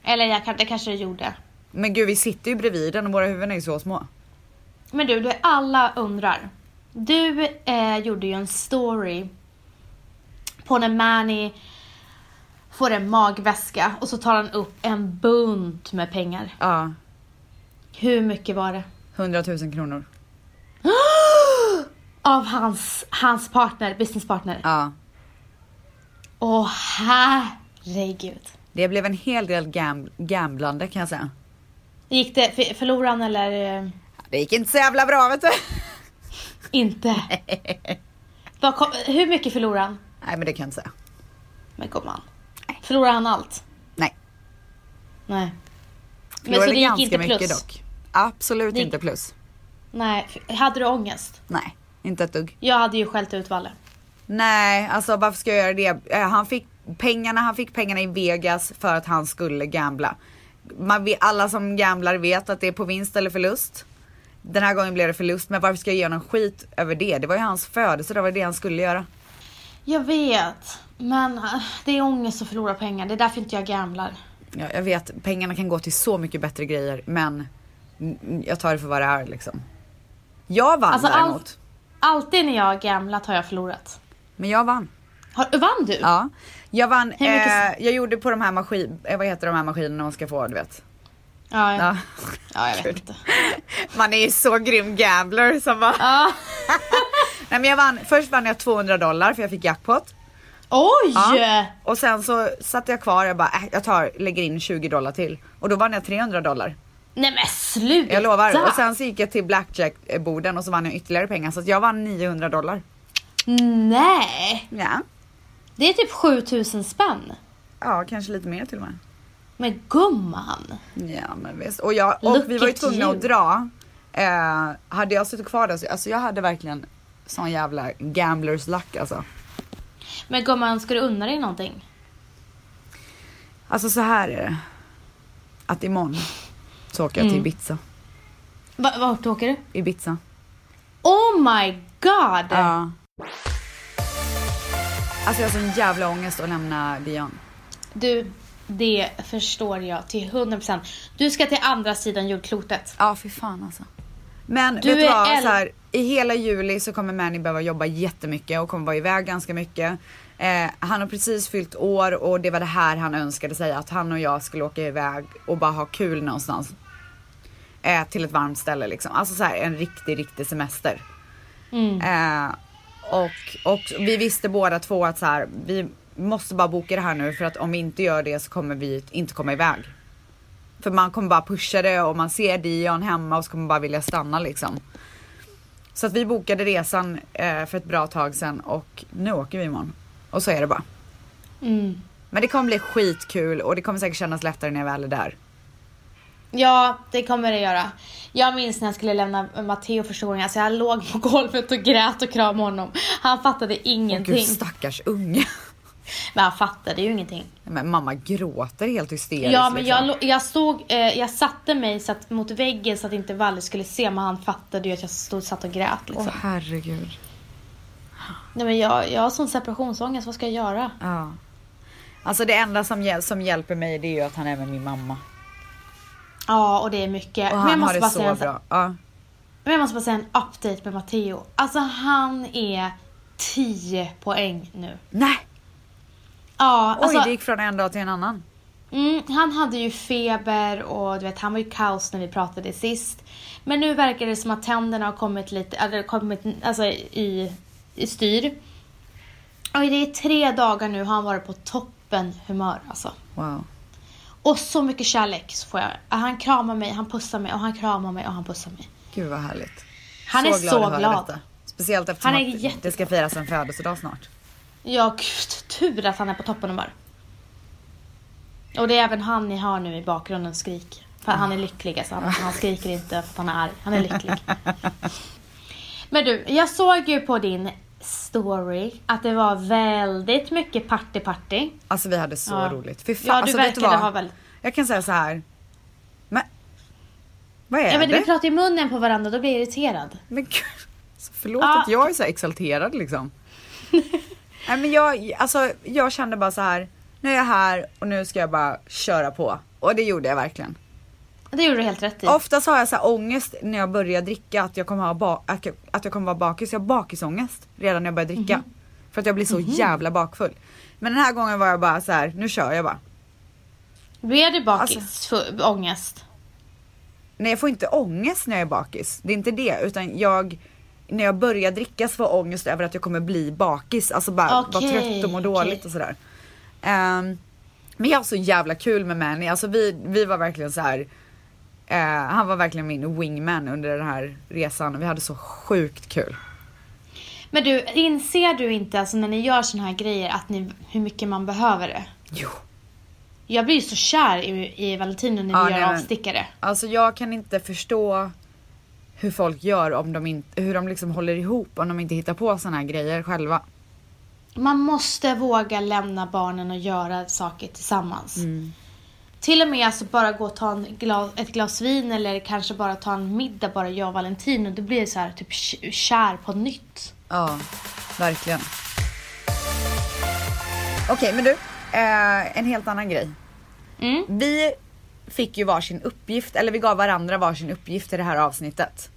Speaker 2: Eller jag, kan- det kanske det gjorde.
Speaker 1: Men gud vi sitter ju bredvid den och våra huvuden är ju så små.
Speaker 2: Men du, det alla undrar. Du eh, gjorde ju en story på när Manny får en magväska och så tar han upp en bunt med pengar.
Speaker 1: Ja,
Speaker 2: Hur mycket var det? *gasps*
Speaker 1: 100 000 kronor.
Speaker 2: Av hans, hans partner, businesspartner.
Speaker 1: Ja.
Speaker 2: Åh herregud.
Speaker 1: Det blev en hel del gam- gamblande kan jag säga.
Speaker 2: Gick det, för- förlorade han eller eh,
Speaker 1: Det gick inte så jävla bra
Speaker 2: *laughs*
Speaker 1: vet du.
Speaker 2: inte? Vad kom, hur mycket förlorade han?
Speaker 1: Nej men det kan jag inte säga.
Speaker 2: Men gumman. Förlorade han allt?
Speaker 1: Nej.
Speaker 2: Nej. Men så
Speaker 1: Förlorade
Speaker 2: det gick
Speaker 1: ganska
Speaker 2: inte plus?
Speaker 1: mycket dock. Absolut
Speaker 2: Det gick-
Speaker 1: inte plus.
Speaker 2: Nej, f- hade du ångest?
Speaker 1: Nej, inte ett dugg.
Speaker 2: Jag hade ju skällt ut Valle.
Speaker 1: Nej, alltså varför ska jag göra det? Eh, Han fick pengarna, han fick pengarna i Vegas för att han skulle gambla. Man vet, alla som gamblar vet att det är på vinst eller förlust. Den här gången blev det förlust, men varför ska jag ge honom skit över det? Det var ju hans födelse, det var det han skulle göra.
Speaker 2: Jag vet, men eh, det är ångest att förlora pengar. Det är därför inte jag gamblar.
Speaker 1: Ja, jag vet, pengarna kan gå till så mycket bättre grejer, men mm, jag tar det för vad det är liksom. Jag vann
Speaker 2: Alltså, allt-
Speaker 1: däremot.
Speaker 2: Alltid när jag har gamblat har jag förlorat.
Speaker 1: Men jag vann.
Speaker 2: Har, vann du?
Speaker 1: Ja. Jag vann,
Speaker 2: Hur mycket-
Speaker 1: eh, jag gjorde på de här maskin, eh, vad heter de här maskinerna man ska få, du vet.
Speaker 2: ja,
Speaker 1: Ja.
Speaker 2: ja. ja jag
Speaker 1: Gud.
Speaker 2: vet inte.
Speaker 1: Man är ju så grym gambler som bara...
Speaker 2: Ja.
Speaker 1: *laughs* Nej men jag vann, först vann jag 200 dollar för jag fick jackpot.
Speaker 2: Oj!
Speaker 1: Ja. Och sen så satte jag kvar, jag bara, äh, jag tar, lägger in 20 dollar till. Och då vann jag 300 dollar.
Speaker 2: Nej men sluta!
Speaker 1: Jag lovar. Och sen så gick jag till blackjack-borden och så vann jag ytterligare pengar. Så att jag vann 900 dollar.
Speaker 2: Nej!
Speaker 1: Ja.
Speaker 2: Det är typ 7000 spänn.
Speaker 1: Ja, kanske lite mer till och med.
Speaker 2: Men gumman!
Speaker 1: Ja men visst. Och, jag, och
Speaker 2: Look
Speaker 1: vi var ju
Speaker 2: at
Speaker 1: tvungna
Speaker 2: you.
Speaker 1: att dra. Eh, hade jag suttit kvar där så, alltså jag hade verkligen sån jävla gamblers luck alltså.
Speaker 2: Men gumman, ska du unna dig någonting?
Speaker 1: Alltså så här är det. Att imorgon så åker jag
Speaker 2: Mm.
Speaker 1: till Ibiza.
Speaker 2: Va, vart åker du?
Speaker 1: Ibiza.
Speaker 2: Oh my god!
Speaker 1: Ja. Alltså jag har sån jävla ångest att lämna Dion.
Speaker 2: Du, det förstår jag till 100%. Du ska till andra sidan jordklotet.
Speaker 1: Ja fy fan alltså. Men
Speaker 2: Du
Speaker 1: vet du
Speaker 2: är
Speaker 1: vad,
Speaker 2: el-
Speaker 1: så här, i hela juli så kommer Manny behöva jobba jättemycket och kommer vara iväg ganska mycket. Eh, han har precis fyllt år och det var det här han önskade sig, att han och jag skulle åka iväg och bara ha kul någonstans. Eh, till ett varmt ställe liksom. Alltså så här, en riktig, riktig semester.
Speaker 2: Mm.
Speaker 1: Eh, och, och vi visste båda två att så här, vi måste bara boka det här nu för att om vi inte gör det så kommer vi inte komma iväg. För man kommer bara pusha det och man ser Dion hemma och så kommer man bara vilja stanna liksom. Så att vi bokade resan eh, för ett bra tag sedan och nu åker vi imorgon. Och så är det bara.
Speaker 2: Mm.
Speaker 1: Men det kommer bli skitkul och det kommer säkert kännas lättare när jag väl är där.
Speaker 2: Ja, det kommer det göra. Jag minns när jag skulle lämna Matteo första gången. Alltså jag låg på golvet och grät och kramade honom. Han fattade ingenting.
Speaker 1: Gud stackars unge. *laughs*
Speaker 2: men han fattade ju ingenting.
Speaker 1: Men mamma gråter helt hysteriskt
Speaker 2: Ja, men jag,
Speaker 1: liksom.
Speaker 2: lo- jag stod, eh, jag satte mig så att, mot väggen så att inte Valle skulle se. Men han fattade ju att jag stod, satt och grät liksom.
Speaker 1: Åh herregud.
Speaker 2: Nej men jag, jag har sån separationsångest. Vad ska jag göra?
Speaker 1: Ja. Alltså det enda som, hjäl- som hjälper mig det är ju att han är med min mamma.
Speaker 2: Ja, och det är mycket.
Speaker 1: Och
Speaker 2: men
Speaker 1: han
Speaker 2: jag
Speaker 1: har
Speaker 2: måste
Speaker 1: det
Speaker 2: bara
Speaker 1: så
Speaker 2: säga en sak.
Speaker 1: bra. Ja.
Speaker 2: Men jag måste bara säga en update med Matteo. Alltså han är 10 poäng nu.
Speaker 1: Nej,
Speaker 2: Ja,
Speaker 1: oj
Speaker 2: alltså,
Speaker 1: det gick från en dag till en annan.
Speaker 2: mm, han hade ju feber och du vet, han var ju kaos när vi pratade sist. Men nu verkar det som att tänderna har kommit lite, eller kommit alltså, i, i styr. Och det är tre dagar nu har han varit på toppen humör alltså.
Speaker 1: Wow.
Speaker 2: Och så mycket kärlek så får jag. Han kramar mig, han pussar mig och han kramar mig och han pussar mig.
Speaker 1: Gud vad härligt.
Speaker 2: Han är så
Speaker 1: att höra
Speaker 2: glad.
Speaker 1: detta. Speciellt eftersom
Speaker 2: Han är
Speaker 1: att det
Speaker 2: jätteglad.
Speaker 1: ska firas en födelsedag snart.
Speaker 2: Ja, gud, tur att han är på toppen humör. Och det är även han ni hör nu i bakgrunden skrik. För han är lycklig alltså. Han, han skriker inte för att han är arg. Han är lycklig. Men du, jag såg ju på din story att det var väldigt mycket party-party.
Speaker 1: Alltså vi hade så
Speaker 2: Ja.
Speaker 1: roligt. Fy fan,
Speaker 2: Ja, du
Speaker 1: alltså, vet du
Speaker 2: verkade
Speaker 1: vad?
Speaker 2: ha väldigt...
Speaker 1: Jag kan säga så här. Men vad är
Speaker 2: Jag vet,
Speaker 1: det?
Speaker 2: inte, vi pratar i munnen på varandra, då blir jag irriterad.
Speaker 1: Men gud, alltså, förlåt
Speaker 2: Ja.
Speaker 1: att jag är så här exalterad liksom. nej men jag, alltså, jag kände bara så här. nu är jag här och nu ska jag bara köra på. Och det gjorde jag verkligen.
Speaker 2: Det gjorde du helt rätt i.
Speaker 1: Oftast har jag så här ångest när jag börjar dricka att jag kommer, ha ba- att jag- att jag kommer vara bakis. Jag har bakisångest redan när jag börjar dricka. För att jag blir så jävla bakfull. Men den här gången var jag bara så här, nu kör jag bara.
Speaker 2: Blev du bakis?
Speaker 1: Alltså-
Speaker 2: För, ångest?
Speaker 1: Nej jag får inte ångest när jag är bakis. Det är inte det utan jag när jag börjar dricka så får jag ångest över att jag kommer bli bakis. Alltså bara vara
Speaker 2: Okej,
Speaker 1: trött och må
Speaker 2: okej.
Speaker 1: dåligt och sådär. Ehm, men jag har så jävla kul med Manny. Alltså vi, vi var verkligen så här. eh, han var verkligen min wingman under den här resan. Vi hade så sjukt kul.
Speaker 2: Men du, inser du inte alltså när ni gör såna här grejer att ni, hur mycket man behöver det?
Speaker 1: Jo.
Speaker 2: Jag blir ju så kär i, i Valentino när vi
Speaker 1: Ja,
Speaker 2: gör
Speaker 1: nej, men-
Speaker 2: avstickare.
Speaker 1: Alltså jag kan inte förstå hur folk gör om de inte, hur de liksom håller ihop om de inte hittar på sådana här grejer själva.
Speaker 2: Man måste våga lämna barnen och göra saker tillsammans.
Speaker 1: Mm.
Speaker 2: Till och med alltså bara gå och ta en glas, ett glas vin eller kanske bara ta en middag bara jag och Valentino. Då blir det så här typ k- kär på nytt.
Speaker 1: Ja, verkligen. Okej, men du. Eh, en helt annan grej.
Speaker 2: Mm.
Speaker 1: Vi fick ju varsin uppgift, eller vi gav varandra varsin uppgift i det här avsnittet.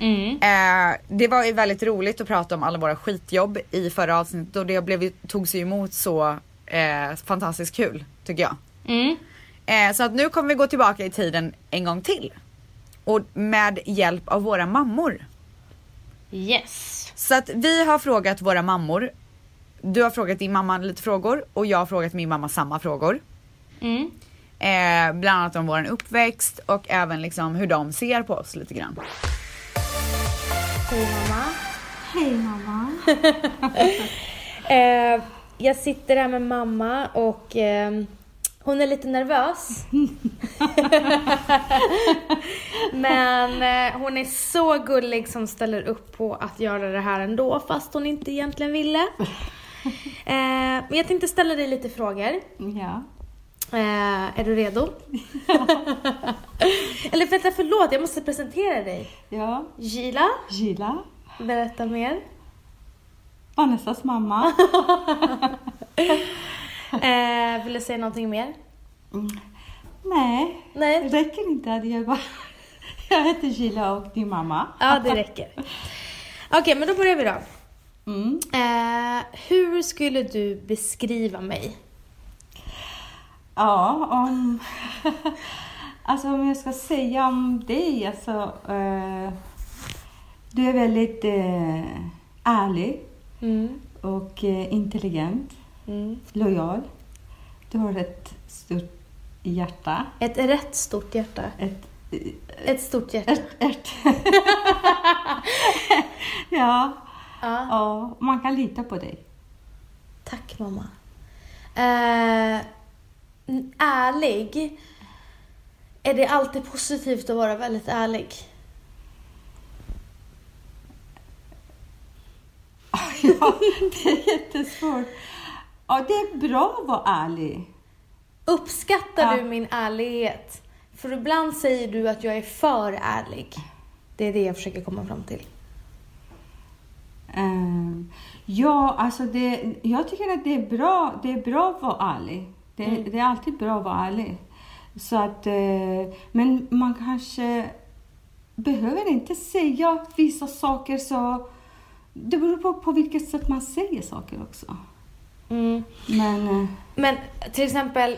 Speaker 2: Mm.
Speaker 1: Eh, det var ju väldigt roligt att prata om alla våra skitjobb i förra avsnittet och det blev, ju- tog sig emot så eh, fantastiskt kul, tycker jag.
Speaker 2: Mm.
Speaker 1: Eh, så att nu kommer vi gå tillbaka i tiden en gång till. Och med hjälp av våra mammor.
Speaker 2: Yes.
Speaker 1: Så att vi har frågat våra mammor. Du har frågat din mamma lite frågor och jag har frågat min mamma samma frågor.
Speaker 2: Mm.
Speaker 1: Eh, bland annat om vår uppväxt och även liksom hur de ser på oss lite grann.
Speaker 2: Hej mamma. Hej mamma. jag sitter här med mamma och eh, hon är lite nervös. Men eh, hon är så gullig som ställer upp på att göra det här ändå fast hon inte egentligen ville. Eh, men jag tänkte ställa dig lite frågor.
Speaker 5: Ja.
Speaker 2: Eh, är du redo? Eller vänta, förlåt, jag måste presentera dig.
Speaker 5: Ja.
Speaker 2: Gila,
Speaker 5: Gila,
Speaker 2: berätta mer.
Speaker 5: Vanessas mamma.
Speaker 2: Eh, vill du säga någonting mer?
Speaker 5: Nej, det
Speaker 2: Nej.
Speaker 5: räcker inte att jag bara... *laughs* Jag heter Gila och din mamma.
Speaker 2: Ja, det räcker. Okej, men då börjar vi då.
Speaker 5: Mm.
Speaker 2: Eh, hur skulle du beskriva mig?
Speaker 5: Ja, om... *laughs* Alltså om jag ska säga om dig, alltså... Eh, du är väldigt eh, ärlig
Speaker 2: Mm.
Speaker 5: och eh, intelligent,
Speaker 2: Mm.
Speaker 5: lojal. Du har ett stort hjärta.
Speaker 2: Ett rätt stort hjärta.
Speaker 5: Ett, *laughs*
Speaker 2: Ett stort hjärta.
Speaker 5: ett, ett. ja,
Speaker 2: Ja.
Speaker 5: ja, man kan lita på dig.
Speaker 2: Tack mamma. Eh, n- ärlig. Är det alltid positivt att vara väldigt ärlig?
Speaker 5: Ja, det är jättesvårt. Ja, det är bra att vara ärlig.
Speaker 2: Uppskattar
Speaker 5: Ja.
Speaker 2: du min ärlighet? För ibland säger du att jag är för ärlig. Det är det jag försöker komma fram till.
Speaker 5: Ehm, Ja, alltså det, jag tycker att det är bra, det är bra att vara ärlig. Det, det är alltid bra att vara ärlig. Så att, eh, men man kanske behöver inte säga vissa saker så... Det beror på, på vilket sätt man säger saker också.
Speaker 2: Mm.
Speaker 5: Men... eh,
Speaker 2: Men till exempel,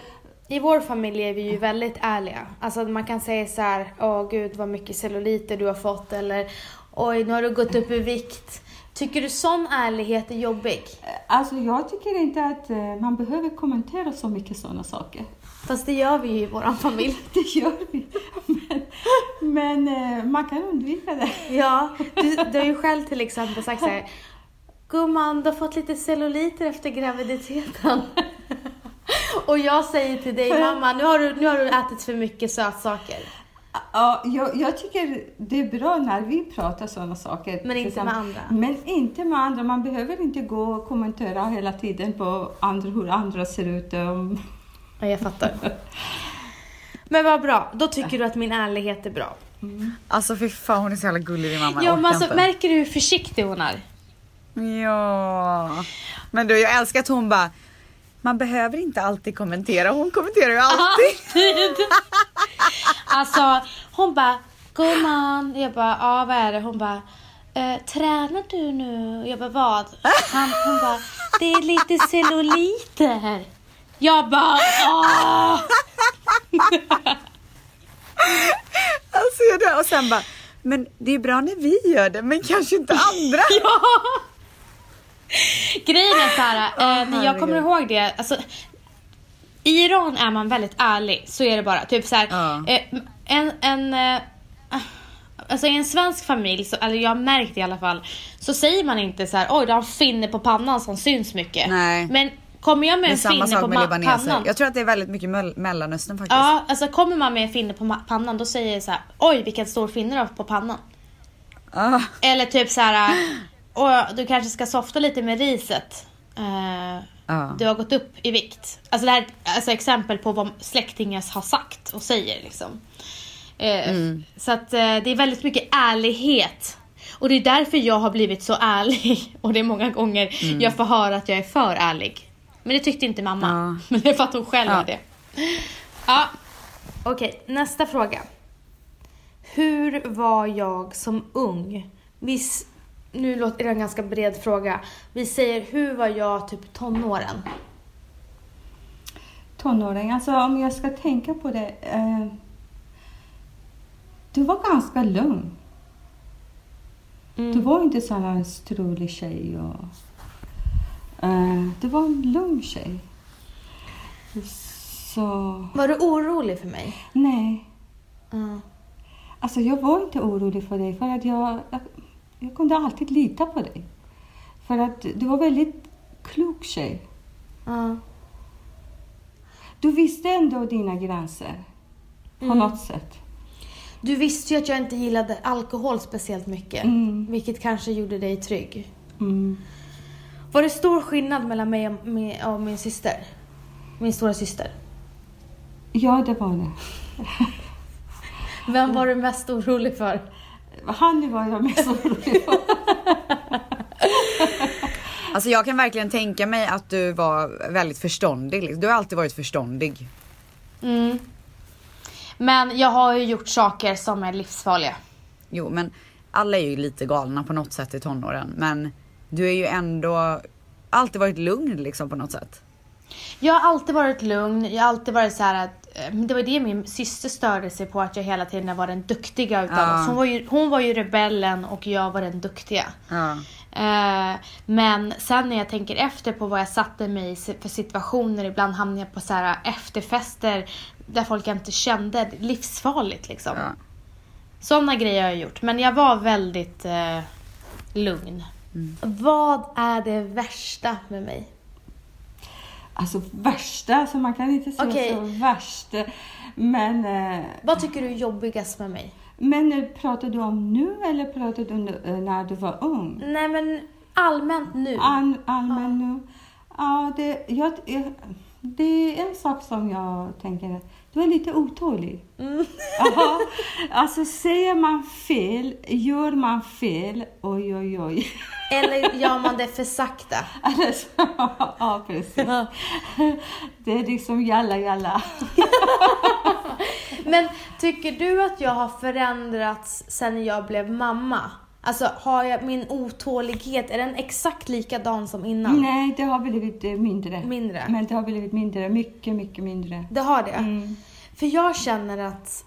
Speaker 2: i vår familj är vi ju väldigt ärliga. Alltså man kan säga så här, åh gud vad mycket celluliter du har fått eller oj nu har du gått upp i vikt. Tycker du sån ärlighet är jobbig?
Speaker 5: Alltså jag tycker inte att eh, man behöver kommentera så mycket sådana saker.
Speaker 2: Fast det gör vi ju i vår familj.
Speaker 5: Det gör vi. Men, men eh, man kan undvika det.
Speaker 2: *laughs* Ja, du, du har ju själv till exempel sagt så här, gumman du har fått lite celluliter efter graviditeten. *laughs* Och jag säger till dig, mamma, nu har du, nu har du ätit för mycket sötsaker.
Speaker 5: Ja, jag, jag tycker det är bra när vi pratar sådana saker.
Speaker 2: Men inte med
Speaker 5: tillsammans.
Speaker 2: andra.
Speaker 5: Men inte med andra. Man behöver inte gå och kommentera hela tiden på andra, hur andra ser ut. Um,
Speaker 2: Ja, jag fattar. Men vad bra, då tycker du att min ärlighet är bra.
Speaker 1: Alltså fy fan hon är så jävla gullig din mamma.
Speaker 2: Ja,
Speaker 1: Jag
Speaker 2: men
Speaker 1: orkar
Speaker 2: alltså,
Speaker 1: inte.
Speaker 2: märker du hur försiktig hon är?
Speaker 1: Ja. Men du jag älskar att hon bara, man behöver inte alltid kommentera. Hon kommenterar ju alltid. *laughs*
Speaker 2: Alltså, hon bara, gumman. Jag bara, ja vad är det? Hon bara, eh, tränar du nu? Jag bara, vad? Han, hon bara, det är lite celluliter. Jag bara, åh!
Speaker 1: Alltså jag dör. Och sen bara, men det är bra när vi gör det men kanske inte
Speaker 2: *laughs*
Speaker 1: andra.
Speaker 2: Ja! Grejen är såhär, eh, när jag kommer ihåg det, alltså, i Iran är man väldigt ärlig, så är det bara. Typ såhär,
Speaker 1: Ja.
Speaker 2: eh, en, en, eh, alltså i en svensk familj, så, eller jag har märkt det i alla fall, så säger man inte så här: oj du har en finne på pannan som syns mycket.
Speaker 1: Nej.
Speaker 2: Men kommer jag med
Speaker 1: Det är
Speaker 2: en
Speaker 1: samma
Speaker 2: finne på
Speaker 1: sak med
Speaker 2: ma-
Speaker 1: libaneser.
Speaker 2: pannan.
Speaker 1: Jag tror att det är väldigt mycket mel- mellanöstern faktiskt.
Speaker 2: Ja, alltså kommer man med en finne på ma- pannan då säger jag så här: oj vilken stor finne du har på pannan.
Speaker 1: Ah.
Speaker 2: Eller typ så här, och du kanske ska softa lite med riset. Eh,
Speaker 1: Ja.
Speaker 2: Du har gått upp i vikt. Alltså det här är alltså exempel på vad släktingar har sagt och säger. Liksom. Eh,
Speaker 1: Mm.
Speaker 2: Så att eh, det är väldigt mycket ärlighet. Och det är därför jag har blivit så ärlig. *laughs* Och det är många gånger
Speaker 1: Mm.
Speaker 2: jag får höra att jag är för ärlig. Men det tyckte inte mamma.
Speaker 1: Ja.
Speaker 2: *laughs* Men det är för att hon själv
Speaker 1: Ja.
Speaker 2: är det. Ja. Okej, nästa fråga. Hur var jag som ung? Vi, s- nu låter det en ganska bred fråga. Vi säger, hur var jag typ tonåren?
Speaker 5: tonåring, alltså om jag ska tänka på det. Eh, du var ganska lugn. Du var inte sån här strulig tjej. Och, eh, du var en lugn tjej. Så,
Speaker 2: Var du orolig för mig?
Speaker 5: nej.
Speaker 2: Mm.
Speaker 5: Alltså jag var inte orolig för dig för att jag, jag, jag kunde alltid lita på dig. För att du var väldigt klok tjej.
Speaker 2: Mm.
Speaker 5: Du visste ändå dina gränser. På något sätt.
Speaker 2: Du visste ju att jag inte gillade alkohol speciellt mycket.
Speaker 5: Mm.
Speaker 2: Vilket kanske gjorde dig trygg.
Speaker 5: Mm.
Speaker 2: Var det stor skillnad mellan mig och, med, och min syster? Min stora syster.
Speaker 5: Ja, det var det.
Speaker 2: Vem var du mest orolig för?
Speaker 5: Han var jag mest orolig för.
Speaker 1: Alltså jag kan verkligen tänka mig att du var väldigt förståndig. liksom. Du har alltid varit förståndig.
Speaker 2: Mm. Men jag har ju gjort saker som är livsfarliga.
Speaker 1: Jo men alla är ju lite galna på något sätt i tonåren men du är ju ändå alltid varit lugn liksom på något sätt.
Speaker 2: Jag har alltid varit lugn, jag har alltid varit så här att eh, men det var det min syster störde sig på, att jag hela tiden var den duktiga utav
Speaker 1: Ja.
Speaker 2: oss. Hon var, ju, hon var ju rebellen och jag var den duktiga.
Speaker 1: Ja.
Speaker 2: Eh, men sen när jag tänker efter på vad jag satte mig i si- för situationer, ibland hamnade jag på så här eh, efterfester där folk jag inte kände, livsfarligt liksom.
Speaker 1: Ja.
Speaker 2: Sådana grejer har jag gjort, men jag var väldigt eh, lugn. Vad är det värsta med mig?
Speaker 5: Alltså värsta, alltså man kan inte säga
Speaker 2: Okej.
Speaker 5: så värst. Men, eh,
Speaker 2: Vad tycker du är jobbigast med mig?
Speaker 5: men eh, pratar du om nu eller pratar du nu, eh, när du var ung?
Speaker 2: Nej men allmänt nu.
Speaker 5: All, allmän nu? Ja, det, jag, jag- det är en sak som jag tänker. Du är lite otålig.
Speaker 2: Mm.
Speaker 5: *laughs* Jaha. Alltså säger man fel, gör man fel, oj oj oj. *laughs*
Speaker 2: Eller gör man det för sakta?
Speaker 5: Eller så, *laughs* ja, precis.
Speaker 2: Ja.
Speaker 5: Det är liksom jalla jalla.
Speaker 2: Men tycker du att jag har förändrats sen jag blev mamma? Alltså har jag min otålighet, är den exakt likadan som innan?
Speaker 5: Nej, det har blivit eh, mindre.
Speaker 2: Mindre?
Speaker 5: Men det har blivit mindre, mycket, mycket mindre.
Speaker 2: Det har det?
Speaker 5: Mm.
Speaker 2: För jag känner att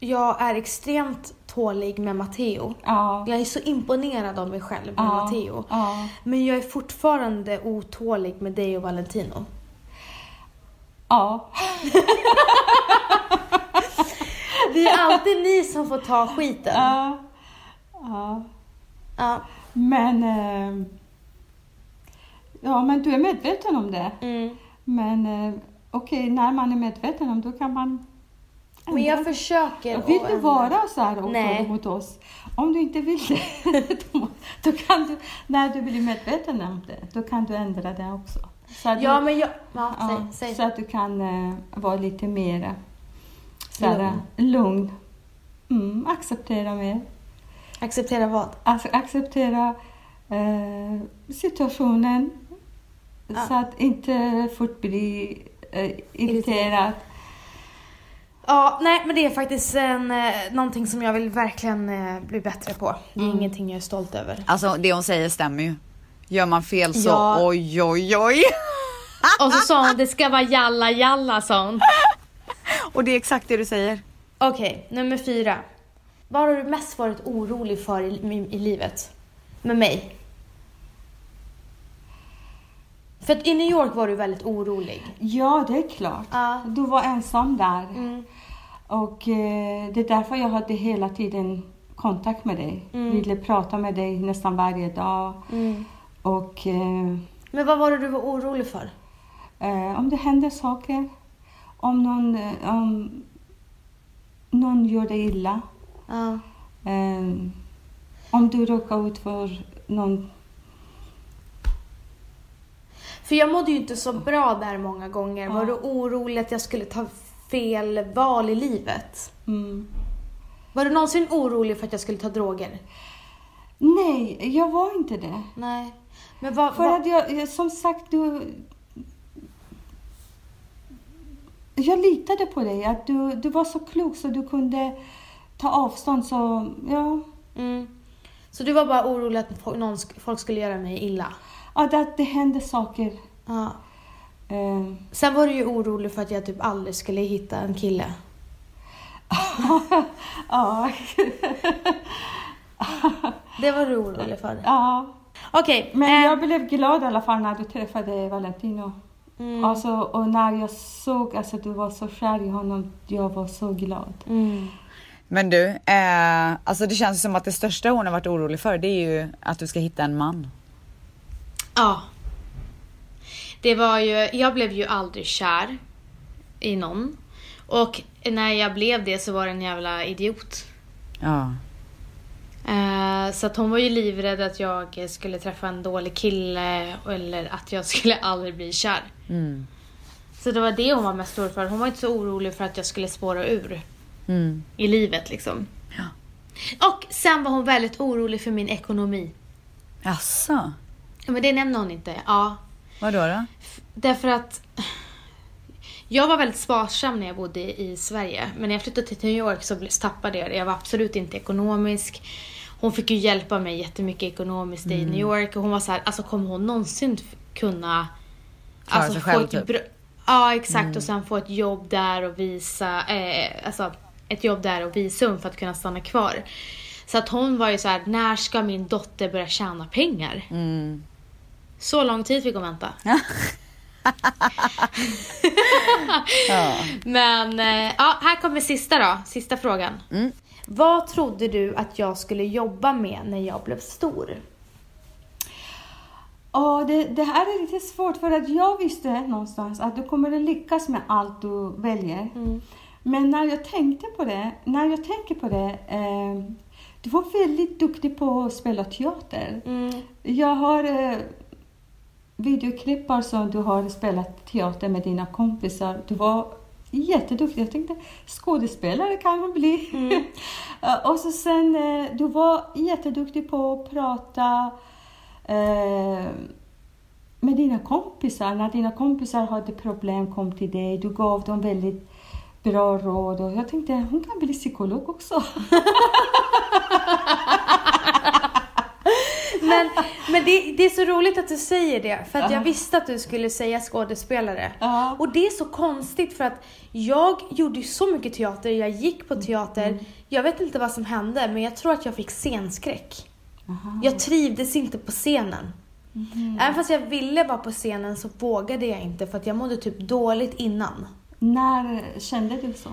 Speaker 2: jag är extremt tålig med Matteo.
Speaker 5: Ja.
Speaker 2: Jag är så imponerad av mig själv med
Speaker 5: Ja.
Speaker 2: Matteo.
Speaker 5: Ja.
Speaker 2: Men jag är fortfarande otålig med dig och Valentino.
Speaker 5: ja.
Speaker 2: Det är alltid ni som får ta skiten.
Speaker 5: ja. ja.
Speaker 2: Ja.
Speaker 5: Men... eh, Ja, men du är medveten om det.
Speaker 2: Mm.
Speaker 5: Men eh, Okej, när man är medveten om det kan man
Speaker 6: Men jag försöker att
Speaker 5: Vill du
Speaker 6: ändra.
Speaker 5: vara så här
Speaker 6: Nej.
Speaker 5: otrogen mot oss? Om du inte vill det, *laughs* då, då kan du, när du blir medveten om det, då kan du ändra det också. Så att
Speaker 6: Ja,
Speaker 5: du,
Speaker 6: men jag... Ja,
Speaker 5: ja,
Speaker 6: säg, säg.
Speaker 5: Så att du kan eh, vara lite mer så här, eh,
Speaker 6: Lugn.
Speaker 5: lugn. Mm, acceptera mer.
Speaker 6: Acceptera vad?
Speaker 5: Alltså, acceptera eh, situationen
Speaker 6: Ja.
Speaker 5: så att inte fort bli eh, irriterad.
Speaker 6: Ja, nej men det är faktiskt en, eh, någonting som jag vill verkligen eh, bli bättre på. Det är ingenting jag är stolt över.
Speaker 1: Alltså det hon säger stämmer ju. Gör man fel så
Speaker 6: Ja.
Speaker 1: oj oj oj. *laughs*
Speaker 2: Och så sa hon det ska vara jalla jalla sa hon.
Speaker 1: Och det är exakt det du säger.
Speaker 6: Okej, nummer fyra. Vad har du mest varit orolig för i, i, i livet? Med mig? För att i New York var du väldigt orolig.
Speaker 5: Ja, det är klart.
Speaker 6: Ja.
Speaker 5: Du var ensam där.
Speaker 6: Mm.
Speaker 5: Och eh, det är därför jag hade hela tiden kontakt med dig.
Speaker 6: Mm.
Speaker 5: Ville prata med dig nästan varje dag. Och eh,
Speaker 6: Men vad var det du var orolig för?
Speaker 5: eh, om det händer saker, om någon, eh, om någon gör dig illa,
Speaker 6: Ja.
Speaker 5: eh, om du råkar ut för någon...
Speaker 6: För jag mådde ju inte så bra där många gånger. Var du orolig att jag skulle ta fel val i livet?
Speaker 5: Mm.
Speaker 6: Var du någonsin orolig för att jag skulle ta droger?
Speaker 5: Nej, jag var inte det.
Speaker 6: Nej. Men vad...
Speaker 5: För
Speaker 6: vad...
Speaker 5: att jag, jag- som sagt, du... Jag litade på dig, att du, du var så klok så du kunde ta avstånd. Så, ja,
Speaker 6: Mm. Så du var bara orolig att fo- någon sk- folk skulle göra mig illa?
Speaker 5: att, att det hände saker.
Speaker 6: Ja.
Speaker 5: Eh, *laughs*
Speaker 6: Sen var du ju orolig för att jag typ aldrig skulle hitta en kille.
Speaker 5: ja, *laughs*
Speaker 6: Det var du orolig för.
Speaker 5: ja.
Speaker 6: Okej,
Speaker 5: Men
Speaker 6: eh,
Speaker 5: jag blev glad i alla fall när du träffade Valentino.
Speaker 6: Mm.
Speaker 5: Alltså, och när jag såg att alltså, du var så kär i honom, jag var så glad.
Speaker 6: Mm.
Speaker 1: Men du, eh, alltså det känns som att det största hon har varit orolig för det är ju att du ska hitta en man.
Speaker 2: Ja. Det var ju, jag blev ju aldrig kär i någon. Och när jag blev det så var det en jävla idiot.
Speaker 1: Ja.
Speaker 2: Eh, Så att hon var ju livrädd att jag skulle träffa en dålig kille eller att jag *laughs* skulle aldrig bli kär.
Speaker 1: Mm.
Speaker 2: Så det var det hon var mest orolig för. Hon var inte så orolig för att jag skulle spåra ur
Speaker 1: Mm.
Speaker 2: i livet liksom. Och sen var hon väldigt orolig för min ekonomi.
Speaker 1: Jaså?
Speaker 2: Ja, Men det nämnde hon inte. Ja,
Speaker 1: Vadå då?
Speaker 2: Därför att jag var väldigt sparsam när jag bodde i Sverige. Men när jag flyttade till New York så blev- tappade jag det. Jag var absolut inte ekonomisk. Hon fick ju hjälpa mig jättemycket ekonomiskt i
Speaker 1: Mm.
Speaker 2: New York. Och hon var så här, alltså kommer hon någonsin f- kunna... alltså,
Speaker 1: Klara sig själv,
Speaker 2: ett
Speaker 1: typ. Mm.
Speaker 2: bra- Ja, exakt. Och sen få ett jobb där och visa... Eh, alltså ett jobb där och visum för att kunna stanna kvar. Så att hon var ju så här, när ska min dotter börja tjäna pengar?
Speaker 1: Mm.
Speaker 2: Så lång tid fick hon vänta.
Speaker 1: Ja.
Speaker 2: Men eh, ja, här kommer sista då, sista frågan.
Speaker 6: Mm. Vad trodde du att jag skulle jobba med när jag blev stor?
Speaker 5: Ja, det, det här är lite svårt för att jag visste någonstans att du kommer att lyckas med allt du väljer.
Speaker 6: Mm.
Speaker 5: Men när jag tänkte på det, när jag tänker på det, eh, du var väldigt duktig på att spela teater.
Speaker 6: Mm.
Speaker 5: Jag har eh, videoklippar som du har spelat teater med dina kompisar. Du var jätteduktig. Jag tänkte skådespelare kan man bli. *laughs* Eh, och så sen, eh, du var jätteduktig på att prata eh, med dina kompisar. När dina kompisar hade problem kom till dig. Du gav dem väldigt bra råd och jag tänkte hon kan bli psykolog också. *laughs*
Speaker 6: Men, men det, det är så roligt att du säger det, för att jag
Speaker 5: Ja.
Speaker 6: visste att du skulle säga skådespelare.
Speaker 5: Ja.
Speaker 6: Och det är så konstigt för att jag gjorde ju så mycket teater, jag gick på teater.
Speaker 5: Mm.
Speaker 6: Jag vet inte vad som hände, men jag tror att jag fick scenskräck. Jag trivdes inte på scenen.
Speaker 5: Mhm.
Speaker 6: Även fast jag ville vara på scenen så vågade jag inte för att jag mådde typ dåligt innan.
Speaker 5: När kände du så?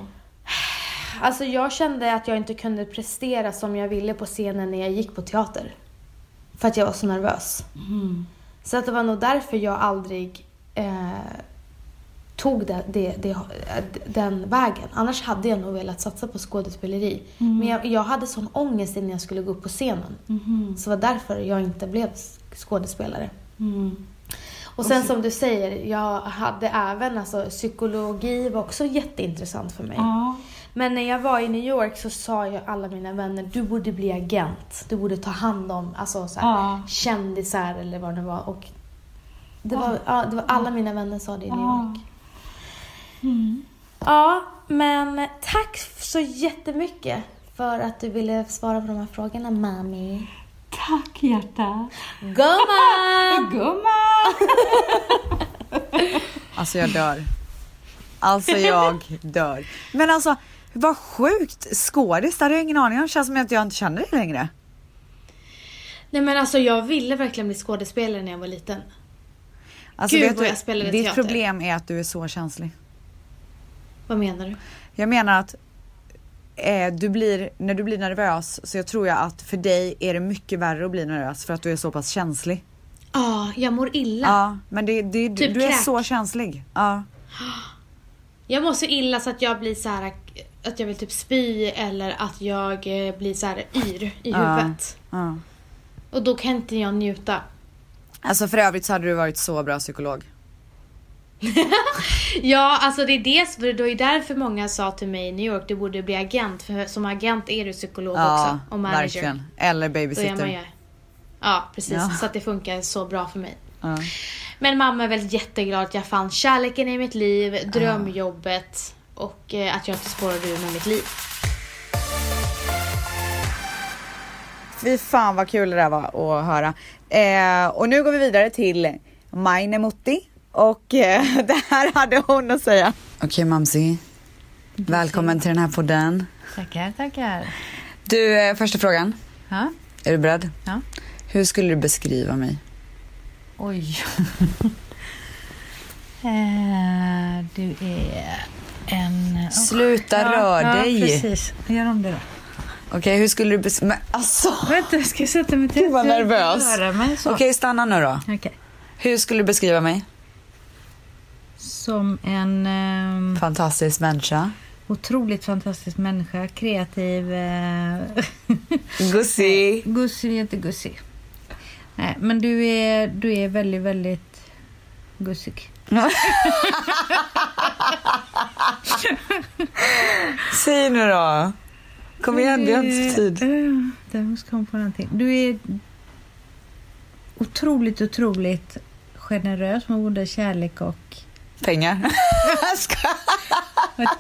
Speaker 6: Alltså jag kände att jag inte kunde prestera som jag ville på scenen när jag gick på teater. För att jag var så nervös. Så att det var nog därför jag aldrig eh, tog det, det, det, eh, den vägen. Annars hade jag nog velat satsa på skådespeleri.
Speaker 2: Mm.
Speaker 6: Men jag, jag hade sån ångest innan jag skulle gå upp på scenen.
Speaker 5: Mm-hmm.
Speaker 6: Så det var därför jag inte blev skådespelare.
Speaker 5: Mm-hmm.
Speaker 6: Och sen som du säger, jag hade även, alltså psykologi var också jätteintressant för mig.
Speaker 5: Ja.
Speaker 6: Men när jag var i New York så sa ju alla mina vänner, du borde bli agent. Du borde ta hand om alltså, så här,
Speaker 5: Ja.
Speaker 6: kändisar eller vad det var. Och det var, ja, det var alla mina vänner sa det i New
Speaker 5: Ja.
Speaker 6: York. Ja, men tack så jättemycket för att du ville svara på de här frågorna, mami.
Speaker 5: Tack hjärta.
Speaker 6: Gumman!
Speaker 5: Gumman!
Speaker 1: Alltså jag dör. Alltså jag dör. Men alltså vad sjukt skådis, det hade jag ingen aning om. Det känns som att jag inte känner dig längre.
Speaker 2: Nej men alltså jag ville verkligen bli skådespelare när jag var liten.
Speaker 1: Alltså,
Speaker 2: Gud,
Speaker 1: vet
Speaker 2: vad
Speaker 1: du,
Speaker 2: jag spelade
Speaker 1: Ditt
Speaker 2: teater.
Speaker 1: problem är att du är så känslig.
Speaker 2: Vad menar du?
Speaker 1: Jag menar att eh, du blir, när du blir nervös så jag tror jag att för dig är det mycket värre att bli nervös för att du är så pass känslig.
Speaker 2: Ja, jag mår illa.
Speaker 1: Ja, men det, det, du,
Speaker 2: Typ
Speaker 1: du är
Speaker 2: kräk.
Speaker 1: så känslig. Ja.
Speaker 2: Jag mår så illa så att jag blir så här att jag vill typ spy eller att jag eh, blir så här yr i
Speaker 1: Ja.
Speaker 2: huvudet.
Speaker 1: ja.
Speaker 2: Och då kan inte jag njuta.
Speaker 1: Alltså för övrigt så hade du varit så bra psykolog.
Speaker 2: Ja, alltså det är det, för det är därför många sa till mig i New York, du borde bli agent. För som agent är du psykolog
Speaker 1: Ja,
Speaker 2: också. Och manager.
Speaker 1: verkligen. Eller
Speaker 2: Då är man ju...
Speaker 1: babysitter.
Speaker 2: Ja, precis.
Speaker 1: Ja.
Speaker 2: Så att det funkar så bra för mig.
Speaker 1: Ja.
Speaker 2: Men mamma är väl jätteglad att jag fann kärleken i mitt liv, drömjobbet och eh, att jag inte spårade ur med mitt liv.
Speaker 1: Fy fan vad kul det där var att höra. Eh, och nu går vi vidare till Maine Mutti och eh, *laughs* det här hade hon att säga. Okej Mamsi, välkommen till den här podden.
Speaker 7: Tackar, tackar.
Speaker 1: Du, eh, första frågan.
Speaker 7: Ja.
Speaker 1: Är du beredd?
Speaker 7: Ja.
Speaker 1: Hur skulle du beskriva mig? *laughs*
Speaker 7: Oj. Eh, du är en...
Speaker 1: Sluta rör
Speaker 7: ja,
Speaker 1: dig!
Speaker 7: Ja, precis. Gör om det då.
Speaker 1: Okej, hur skulle du beskriva... Men alltså!
Speaker 7: Vänta, jag ska jag sätta mig till?
Speaker 1: Gud, vad
Speaker 7: Jag kan
Speaker 1: nervös.
Speaker 7: röra mig så.
Speaker 1: Okej, stanna nu då.
Speaker 7: Okej.
Speaker 1: Hur skulle du beskriva mig?
Speaker 7: Som en ehm,
Speaker 1: Fantastisk människa.
Speaker 7: otroligt fantastisk människa. Kreativ. Eh, *laughs*
Speaker 1: Gussi.
Speaker 7: gussig, jättegussig. Nej, men du är, du är väldigt, väldigt gussig.
Speaker 1: Säg nu då. Kom igen, vi har inte tid.
Speaker 7: Jag Eh, måste komma på någonting. Du är otroligt, otroligt generös med både kärlek och, *laughs*
Speaker 1: Pengar.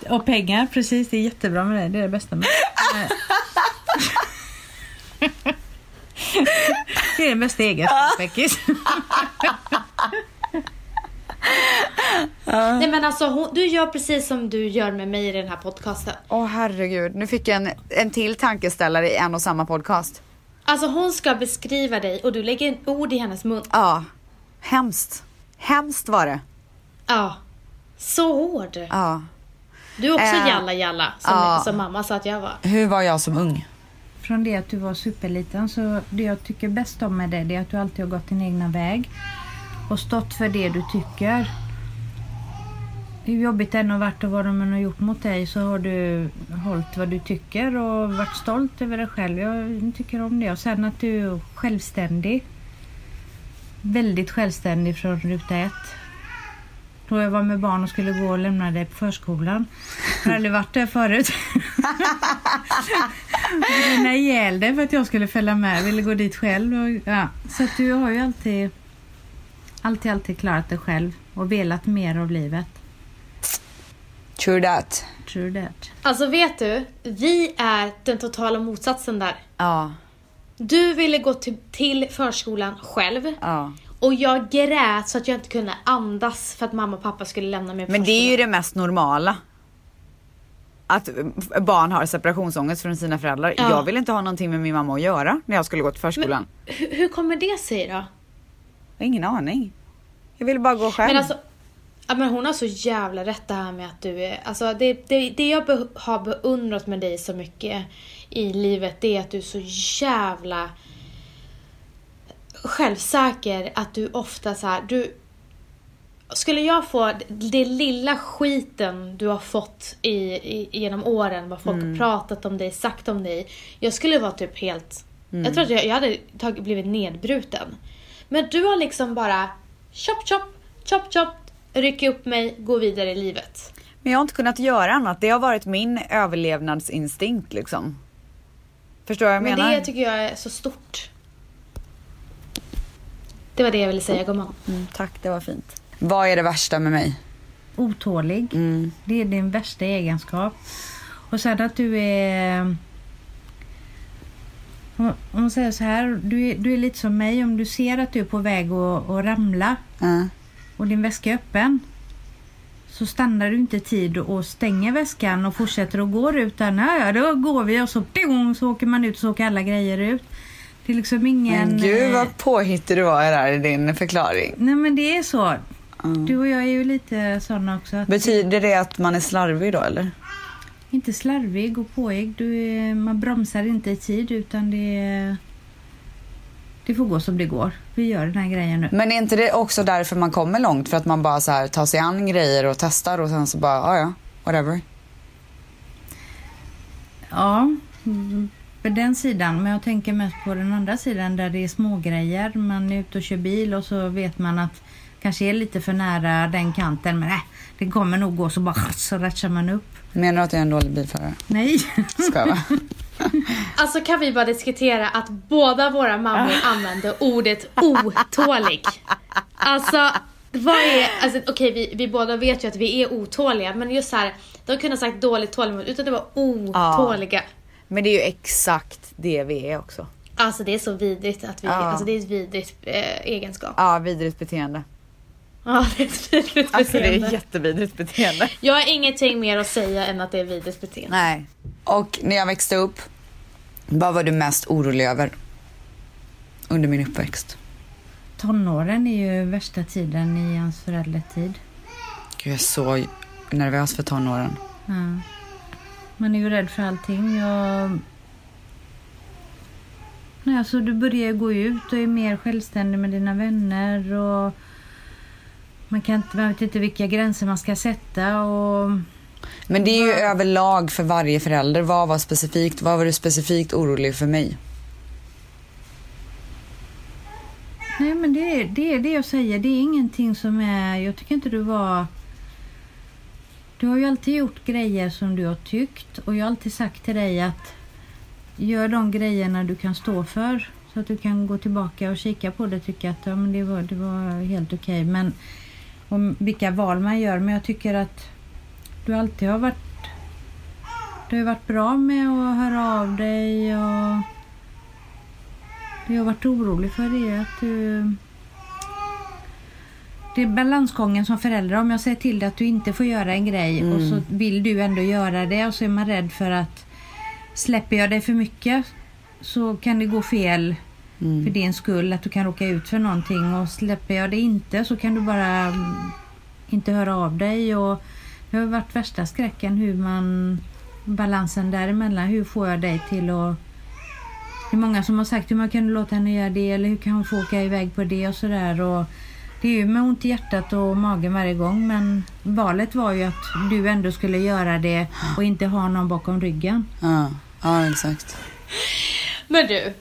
Speaker 7: och pengar. Precis, det är jättebra med det. Det är det bästa med det. Det är den bästa egenskapen, Beckis.
Speaker 2: Nej men alltså hon, du gör precis som du gör med mig i den här podcasten.
Speaker 1: Åh herregud, nu fick jag en, en till tankeställare i en och samma podcast.
Speaker 2: Alltså hon ska beskriva dig och du lägger en ord i hennes mun.
Speaker 1: Ja, hemskt. Hemskt var det.
Speaker 2: Ja. Så hård.
Speaker 1: Ja.
Speaker 2: Du är också
Speaker 1: Eh,
Speaker 2: jalla jalla som,
Speaker 1: ja.
Speaker 2: som mamma sa att jag var.
Speaker 1: Hur var jag som ung?
Speaker 7: Från det att du var superliten så det jag tycker bäst om med dig det är att du alltid har gått din egna väg och stått för det du tycker. Hur jobbigt det än har varit och vad de än har gjort mot dig så har du hållit vad du tycker och varit stolt över dig själv. Jag tycker om det. Och sen att du är självständig. Väldigt självständig från ruta ett. Då jag var med barn och skulle gå och lämna dig på förskolan. Jag har aldrig varit där förut. Jag ville ihjäl dig för att jag skulle följa med. Jag ville gå dit själv. Och, ja. Så att du har ju alltid, alltid, alltid klarat dig själv och velat mer av livet.
Speaker 1: True that.
Speaker 7: True that.
Speaker 2: Alltså vet du, vi är den totala motsatsen där.
Speaker 1: Ja,
Speaker 2: Du ville gå till, till förskolan själv
Speaker 1: ja.
Speaker 2: och jag grät så att jag inte kunde andas för att mamma och pappa skulle lämna mig på
Speaker 1: Men det är
Speaker 2: förskolan.
Speaker 1: ju det mest normala. Att eh, barn har separationsångest från sina föräldrar.
Speaker 2: Ja.
Speaker 1: Jag ville inte ha någonting med min mamma att göra när jag skulle gå till förskolan.
Speaker 2: hur, hur kommer det sig då?
Speaker 1: Jag har ingen aning. Jag ville bara gå själv.
Speaker 2: Men alltså, ja, men hon har så jävla rätt det här med att du är... Alltså det, det, det jag be, har beundrat med dig så mycket i livet det är att du är så jävla självsäker. Att du ofta så här, du... Skulle jag få d- det lilla skiten du har fått i, i, genom åren, vad folk har pratat om dig, sagt om dig. Jag skulle vara typ helt...
Speaker 1: Mm.
Speaker 2: Jag tror att jag, jag hade tag, blivit nedbruten. Men du har liksom bara chop chop, chop chop, rycka upp mig, gå vidare i livet.
Speaker 1: Men jag har inte kunnat göra annat. Det har varit min överlevnadsinstinkt liksom. Förstår vad jag
Speaker 2: Men
Speaker 1: menar?
Speaker 2: det tycker jag är så stort. Det var det jag ville säga gumman.
Speaker 1: Mm, tack, det var fint. Vad är det värsta med mig?
Speaker 7: Otålig.
Speaker 1: Mm.
Speaker 7: Det är din värsta egenskap. Och sen att du är... Om om man säger så här, du är, du är lite som mig. Om du ser att du är på väg att, att ramla
Speaker 1: Äh.
Speaker 7: och din väska är öppen så stannar du inte i tid och stänger väskan och fortsätter att gå utan ja, ja, då går vi och så, dong, så åker man ut och så åker alla grejer ut. Det är liksom ingen...
Speaker 1: Men gud
Speaker 7: eh,
Speaker 1: vad påhittig du var där i din förklaring.
Speaker 7: Nej men det är så.
Speaker 1: Mm.
Speaker 7: Du och jag är ju lite sådana också. Att
Speaker 1: Betyder det att man är slarvig då eller?
Speaker 7: Inte slarvig och påig. Du, är- man bromsar inte i tid utan det, är- det får gå som det går. Vi gör den här grejen nu.
Speaker 1: Men är inte det också därför man kommer långt? För att man bara så här tar sig an grejer och testar och sen så bara, "Ah, ja ja, whatever.
Speaker 7: Ja, mm, på den sidan. Men jag tänker mest på den andra sidan där det är små grejer. Man är ute och kör bil och så vet man att kanske är lite för nära den kanten. Men äh, det kommer nog gå så bara så ratchar man upp.
Speaker 1: Menar du att jag är en dålig *laughs* bilförare?
Speaker 7: Nej.
Speaker 1: Skojar bara.
Speaker 2: Alltså kan vi bara diskutera att båda
Speaker 1: *laughs*
Speaker 2: våra mammor använde ordet otålig. Alltså, vad är... Alltså, Okej, vi, vi båda vet ju att vi är otåliga, men just så här, de kunde ha sagt dåligt tålamod, utan det var otåliga.
Speaker 1: Men det är ju exakt det vi är också.
Speaker 2: Alltså det är så vidrigt att vi...
Speaker 1: Ja.
Speaker 2: Alltså det är ett vidrigt eh, egenskap.
Speaker 1: Ja, vidrigt beteende.
Speaker 2: Ja, det är ett vidrigt
Speaker 1: Alltså det är
Speaker 2: beteende.
Speaker 1: jättevidrigt beteende.
Speaker 2: Jag har ingenting mer att säga än att det är vidrigt beteende.
Speaker 1: Nej. Och när jag växte upp, vad var du mest orolig över? Under min uppväxt.
Speaker 7: *laughs* Tonåren är ju värsta tiden i ens föräldratid.
Speaker 1: Gud, jag är så nervös för tonåren.
Speaker 7: Ja. Man är ju rädd för allting. Jag... Nej, alltså, du börjar ju gå ut och är mer självständig med dina vänner. Och man, kan inte, man vet inte vilka gränser man ska sätta. Och...
Speaker 1: Men det är ju överlag för varje förälder. Vad var specifikt? Vad var du specifikt orolig för mig?
Speaker 7: Nej, men det, är- det är det jag säger. Det är ingenting som är... Jag tycker inte du var... Du har ju alltid gjort grejer som du har tyckt och jag har alltid sagt till dig att gör de grejerna du kan stå för så att du kan gå tillbaka och kika på det och tycka att ja, men det, var, det var helt okej. Men om vilka val man gör. Men jag tycker att du alltid har varit... Du har varit bra med att höra av dig och... Det jag varit orolig för är att du... Det är balansgången som förälder. Om jag säger till dig att du inte får göra en grej och så vill du ändå göra det och så är man rädd för att släpper jag dig för mycket så kan det gå fel för din skull, att du kan råka ut för någonting och släpper jag det inte så kan du bara mm, inte höra av dig. Och det har varit värsta skräcken hur man... Balansen däremellan, hur får jag dig till att det är många som har sagt hur man kan låta henne göra det eller hur kan hon få åka iväg på det och sådär. Och det är ju med ont i hjärtat och magen varje gång men valet var ju att du ändå skulle göra det och inte ha någon bakom ryggen.
Speaker 1: Ja, ja exakt.
Speaker 2: Men du,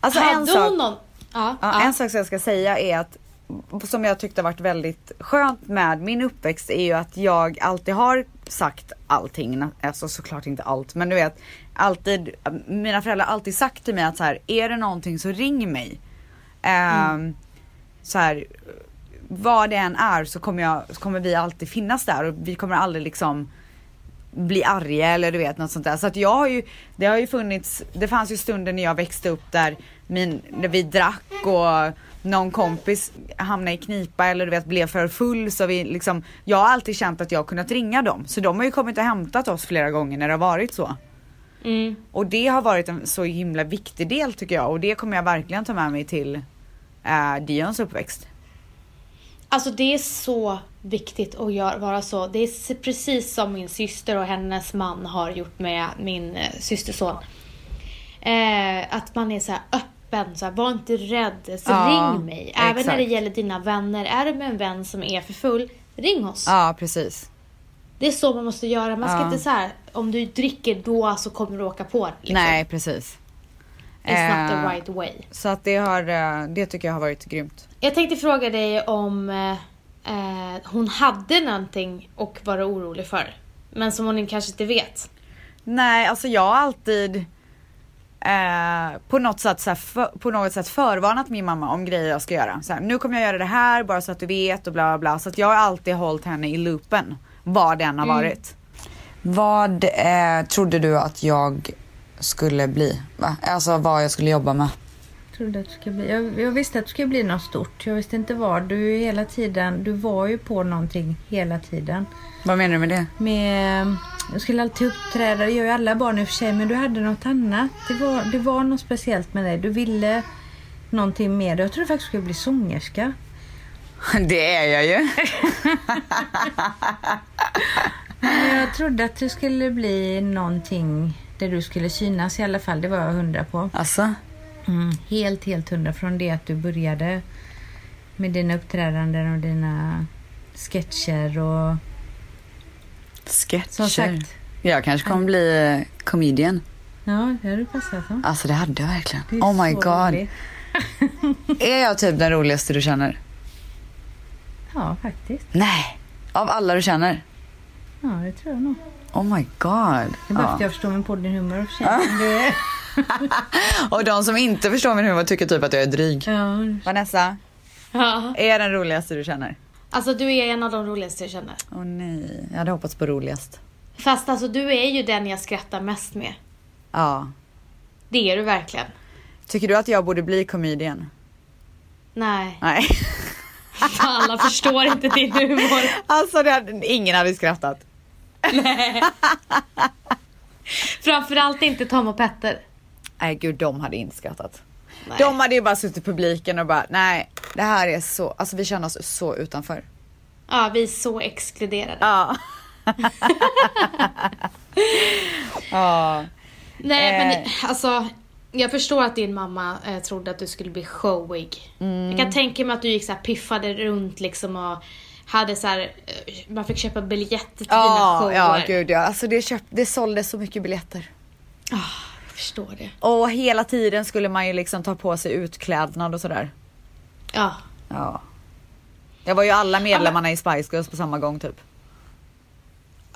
Speaker 1: Alltså en
Speaker 2: hade
Speaker 1: sak,
Speaker 2: hon någon... Ja,
Speaker 1: ja,
Speaker 2: ja.
Speaker 1: en sak som jag ska säga är att som jag tyckte varit väldigt skönt med min uppväxt är ju att jag alltid har sagt allting, alltså såklart inte allt men du vet alltid, mina föräldrar har alltid sagt till mig att så här, är det någonting så ring mig. Ehm, Så här, vad det än är så kommer, jag, så kommer vi alltid finnas där och vi kommer aldrig liksom bli arga eller du vet något sånt där. Så att jag har ju, det har ju funnits, det fanns ju stunder när jag växte upp där, min, där vi drack och någon kompis hamnade i knipa eller du vet blev för full så vi liksom, jag har alltid känt att jag har kunnat ringa dem. Så de har ju kommit och hämtat oss flera gånger när det har varit så.
Speaker 2: Mm.
Speaker 1: Och det har varit en så himla viktig del tycker jag och det kommer jag verkligen ta med mig till eh, Dions uppväxt.
Speaker 2: Alltså det är så viktigt att göra, vara så. Det är s- precis som min syster och hennes man har gjort med min eh, systerson. Eh, att man är så här öppen öppen. Så här, var inte rädd. Så
Speaker 1: Ja,
Speaker 2: ring mig. Även när det
Speaker 1: exakt.
Speaker 2: gäller dina vänner. Är du med en vän som är för full, ring oss.
Speaker 1: Ja, precis.
Speaker 2: Det är så man måste göra. Man ska
Speaker 1: Ja.
Speaker 2: inte så här, om du dricker då så kommer du åka på det. Liksom.
Speaker 1: Nej, precis.
Speaker 2: It's not the
Speaker 1: Eh,
Speaker 2: right way.
Speaker 1: Så att det, har, eh, det tycker jag har varit grymt.
Speaker 2: Jag tänkte fråga dig om eh, eh, hon hade någonting och var orolig för. Men som hon kanske inte vet.
Speaker 1: Nej, alltså jag har alltid eh, på, något sätt, så här, för, på något sätt förvarnat min mamma om grejer jag ska göra. Så här, nu kommer jag göra det här bara så att du vet och bla bla bla. Så att jag har alltid hållit henne i loopen. Vad det än har varit.
Speaker 8: Vad eh, trodde du att jag skulle bli? Va? Alltså vad jag skulle jobba med?
Speaker 7: Trodde att du skulle bli, jag, jag visste att du skulle bli något stort. Jag visste inte vad. Du, är hela tiden, du var ju på någonting hela tiden.
Speaker 1: Vad menar du med det? *laughs*
Speaker 7: Med, jag skulle alltid uppträda, det gör ju alla barn i och för sig, men du hade något annat. Det var, det var något speciellt med dig. Du ville någonting mer. Jag trodde faktiskt du skulle bli sångerska.
Speaker 1: Det är jag ju.
Speaker 7: Men Jag trodde att det skulle bli någonting där du skulle synas i alla fall. Det var jag hundra på.
Speaker 1: Alltså?
Speaker 7: Mm, helt, helt hundra från det att du började med dina uppträdanden och dina sketcher och
Speaker 1: Sketcher.
Speaker 7: som sagt.
Speaker 1: Jag kanske kommer bli eh, comedian.
Speaker 7: Ja, det hade du passat som.
Speaker 1: Alltså det hade jag verkligen.
Speaker 7: Det är
Speaker 1: Oh my
Speaker 7: så
Speaker 1: god.
Speaker 7: roligt.
Speaker 1: Är jag typ den roligaste du känner?
Speaker 7: Ja, faktiskt.
Speaker 1: Nej. Av alla du känner?
Speaker 7: Ja, det tror jag nog.
Speaker 1: Oh my god.
Speaker 7: Det är bara för
Speaker 1: Ja.
Speaker 7: att jag förstår min podden humor och för
Speaker 1: Ah.
Speaker 7: sig. Men det-
Speaker 1: *laughs* Och de som inte förstår min humor tycker typ att jag är dryg.
Speaker 7: Ja,
Speaker 1: Vanessa,
Speaker 2: Ja.
Speaker 1: är jag den roligaste du känner?
Speaker 2: Alltså du är en av de roligaste jag känner.
Speaker 1: Åh nej, jag hade hoppats på roligast.
Speaker 2: Fast alltså du är ju den jag skrattar mest med.
Speaker 1: Ja.
Speaker 2: Det är du verkligen.
Speaker 1: Tycker du att jag borde bli comedian?
Speaker 2: Nej, *laughs*
Speaker 1: Nej.
Speaker 2: alla förstår inte din humor.
Speaker 1: *laughs* Alltså det hade, ingen hade skrattat.
Speaker 2: Framförallt inte Tom och Petter.
Speaker 1: Nej gud, de hade inte skrattat.
Speaker 2: Nej.
Speaker 1: De hade ju bara suttit i publiken och bara nej, det här är så, alltså vi känner oss så utanför.
Speaker 2: Ja, vi är så exkluderade.
Speaker 1: Ja. *laughs* ja.
Speaker 2: Nej, men
Speaker 1: Eh.
Speaker 2: alltså. Jag förstår att din mamma eh, trodde att du skulle bli showig. Jag
Speaker 1: Mm.
Speaker 2: kan tänka mig att du gick så här piffade runt liksom och hade så här, eh, man fick köpa biljetter till dina
Speaker 1: Ah, Ja,
Speaker 2: shower.
Speaker 1: ja gud ja. Alltså det, köpt, det såldes så mycket biljetter.
Speaker 2: Jag förstår det.
Speaker 1: Och hela tiden skulle man ju liksom ta på sig utklädnad och sådär.
Speaker 2: Ja.
Speaker 1: Ja. Jag var ju alla medlemmarna i Spice Girls på samma gång typ.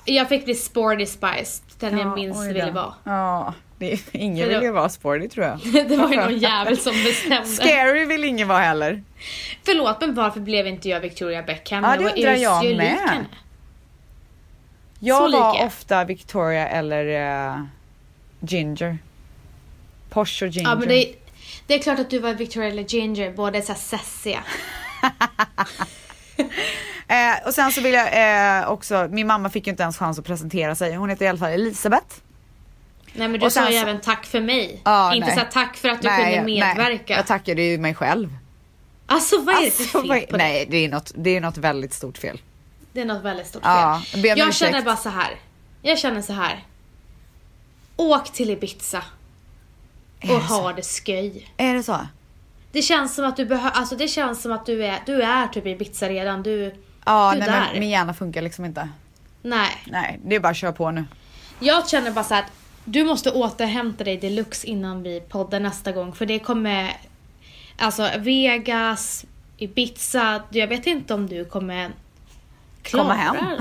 Speaker 2: Jag fick bli sporty spice, den jag minst
Speaker 1: oj då.
Speaker 2: ville vara. *laughs*
Speaker 1: Ja, det är, ingen
Speaker 2: För det-
Speaker 1: vill ju vara sporty tror
Speaker 2: *laughs*
Speaker 1: jag.
Speaker 2: Det var ju
Speaker 1: *laughs*
Speaker 2: någon jävel som bestämde.
Speaker 1: Scary vill ingen vara heller.
Speaker 2: Förlåt, men varför blev inte jag Victoria Beckham?
Speaker 1: Ja,
Speaker 2: Jag
Speaker 1: det
Speaker 2: var- är
Speaker 1: undrar
Speaker 2: ju
Speaker 1: jag
Speaker 2: så lik
Speaker 1: med.
Speaker 2: henne.
Speaker 1: Jag
Speaker 2: Så
Speaker 1: var
Speaker 2: lika.
Speaker 1: ofta Victoria eller eh, Ginger. Porsche och Ginger.
Speaker 2: Ja, men det, det är klart att du var Victoria eller Ginger, båda är så här sessiga.
Speaker 1: Eh, och sen så vill jag eh, också, min mamma fick ju inte ens chans att presentera sig. Hon heter i alla fall Elisabeth.
Speaker 2: Nej men du
Speaker 1: Och sen
Speaker 2: sa ju
Speaker 1: så-
Speaker 2: även tack för mig.
Speaker 1: Ja,
Speaker 2: inte
Speaker 1: nej.
Speaker 2: så här, tack för att du kunde medverka.
Speaker 1: Nej, jag tackade ju mig själv.
Speaker 2: alltså vad är det
Speaker 1: Alltså,
Speaker 2: för fel
Speaker 1: vad-
Speaker 2: på det?
Speaker 1: nej, det är, något, det är något väldigt stort fel.
Speaker 2: Det är något väldigt stort fel.
Speaker 1: Ja, jag ber om
Speaker 2: jag
Speaker 1: ursäkt.
Speaker 2: känner bara så här. Jag känner så här. Åk till Ibiza. Och
Speaker 1: Alltså.
Speaker 2: ha det sköj.
Speaker 1: Är det så?
Speaker 2: Det känns som att du behöver, alltså det känns som att du är, du är typ i Ibiza redan. Du,
Speaker 1: Ja,
Speaker 2: du
Speaker 1: nej,
Speaker 2: är där.
Speaker 1: men min hjärna funkar liksom inte.
Speaker 2: Nej.
Speaker 1: Nej, det är bara att köra på nu.
Speaker 2: Jag känner bara så här att du måste återhämta dig deluxe innan vi poddar nästa gång. För det kommer, alltså Vegas, Ibiza, jag vet inte om du kommer klara
Speaker 1: Komma hem.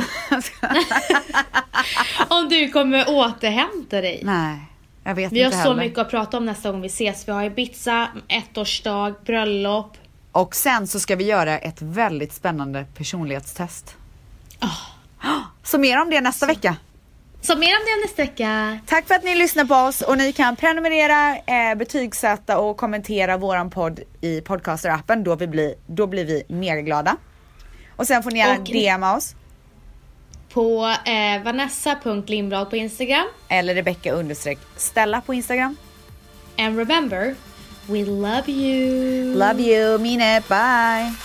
Speaker 2: Om du kommer återhämta dig.
Speaker 1: *laughs* nej, jag vet
Speaker 2: vi har
Speaker 1: inte
Speaker 2: så
Speaker 1: heller.
Speaker 2: mycket att prata om nästa gång vi ses. Vi har Ibiza, ettårsdag, bröllop.
Speaker 1: Och sen så ska vi göra ett väldigt spännande personlighetstest.
Speaker 2: Ah.
Speaker 1: Så mer om det nästa vecka.
Speaker 2: Så mer om det nästa vecka.
Speaker 1: Tack för att ni lyssnar på oss och ni kan prenumerera, eh, betygsätta och kommentera våran podd i podcaster-appen. Då, vi blir- då blir vi megaglada. Och sen får ni gärna
Speaker 2: Och-
Speaker 1: DMa oss
Speaker 2: På eh, vanessa.lindblad på Instagram.
Speaker 1: eller Rebecca understreck Stella på Instagram.
Speaker 2: And remember, we love you. Mm.
Speaker 1: Love you, mean it, bye!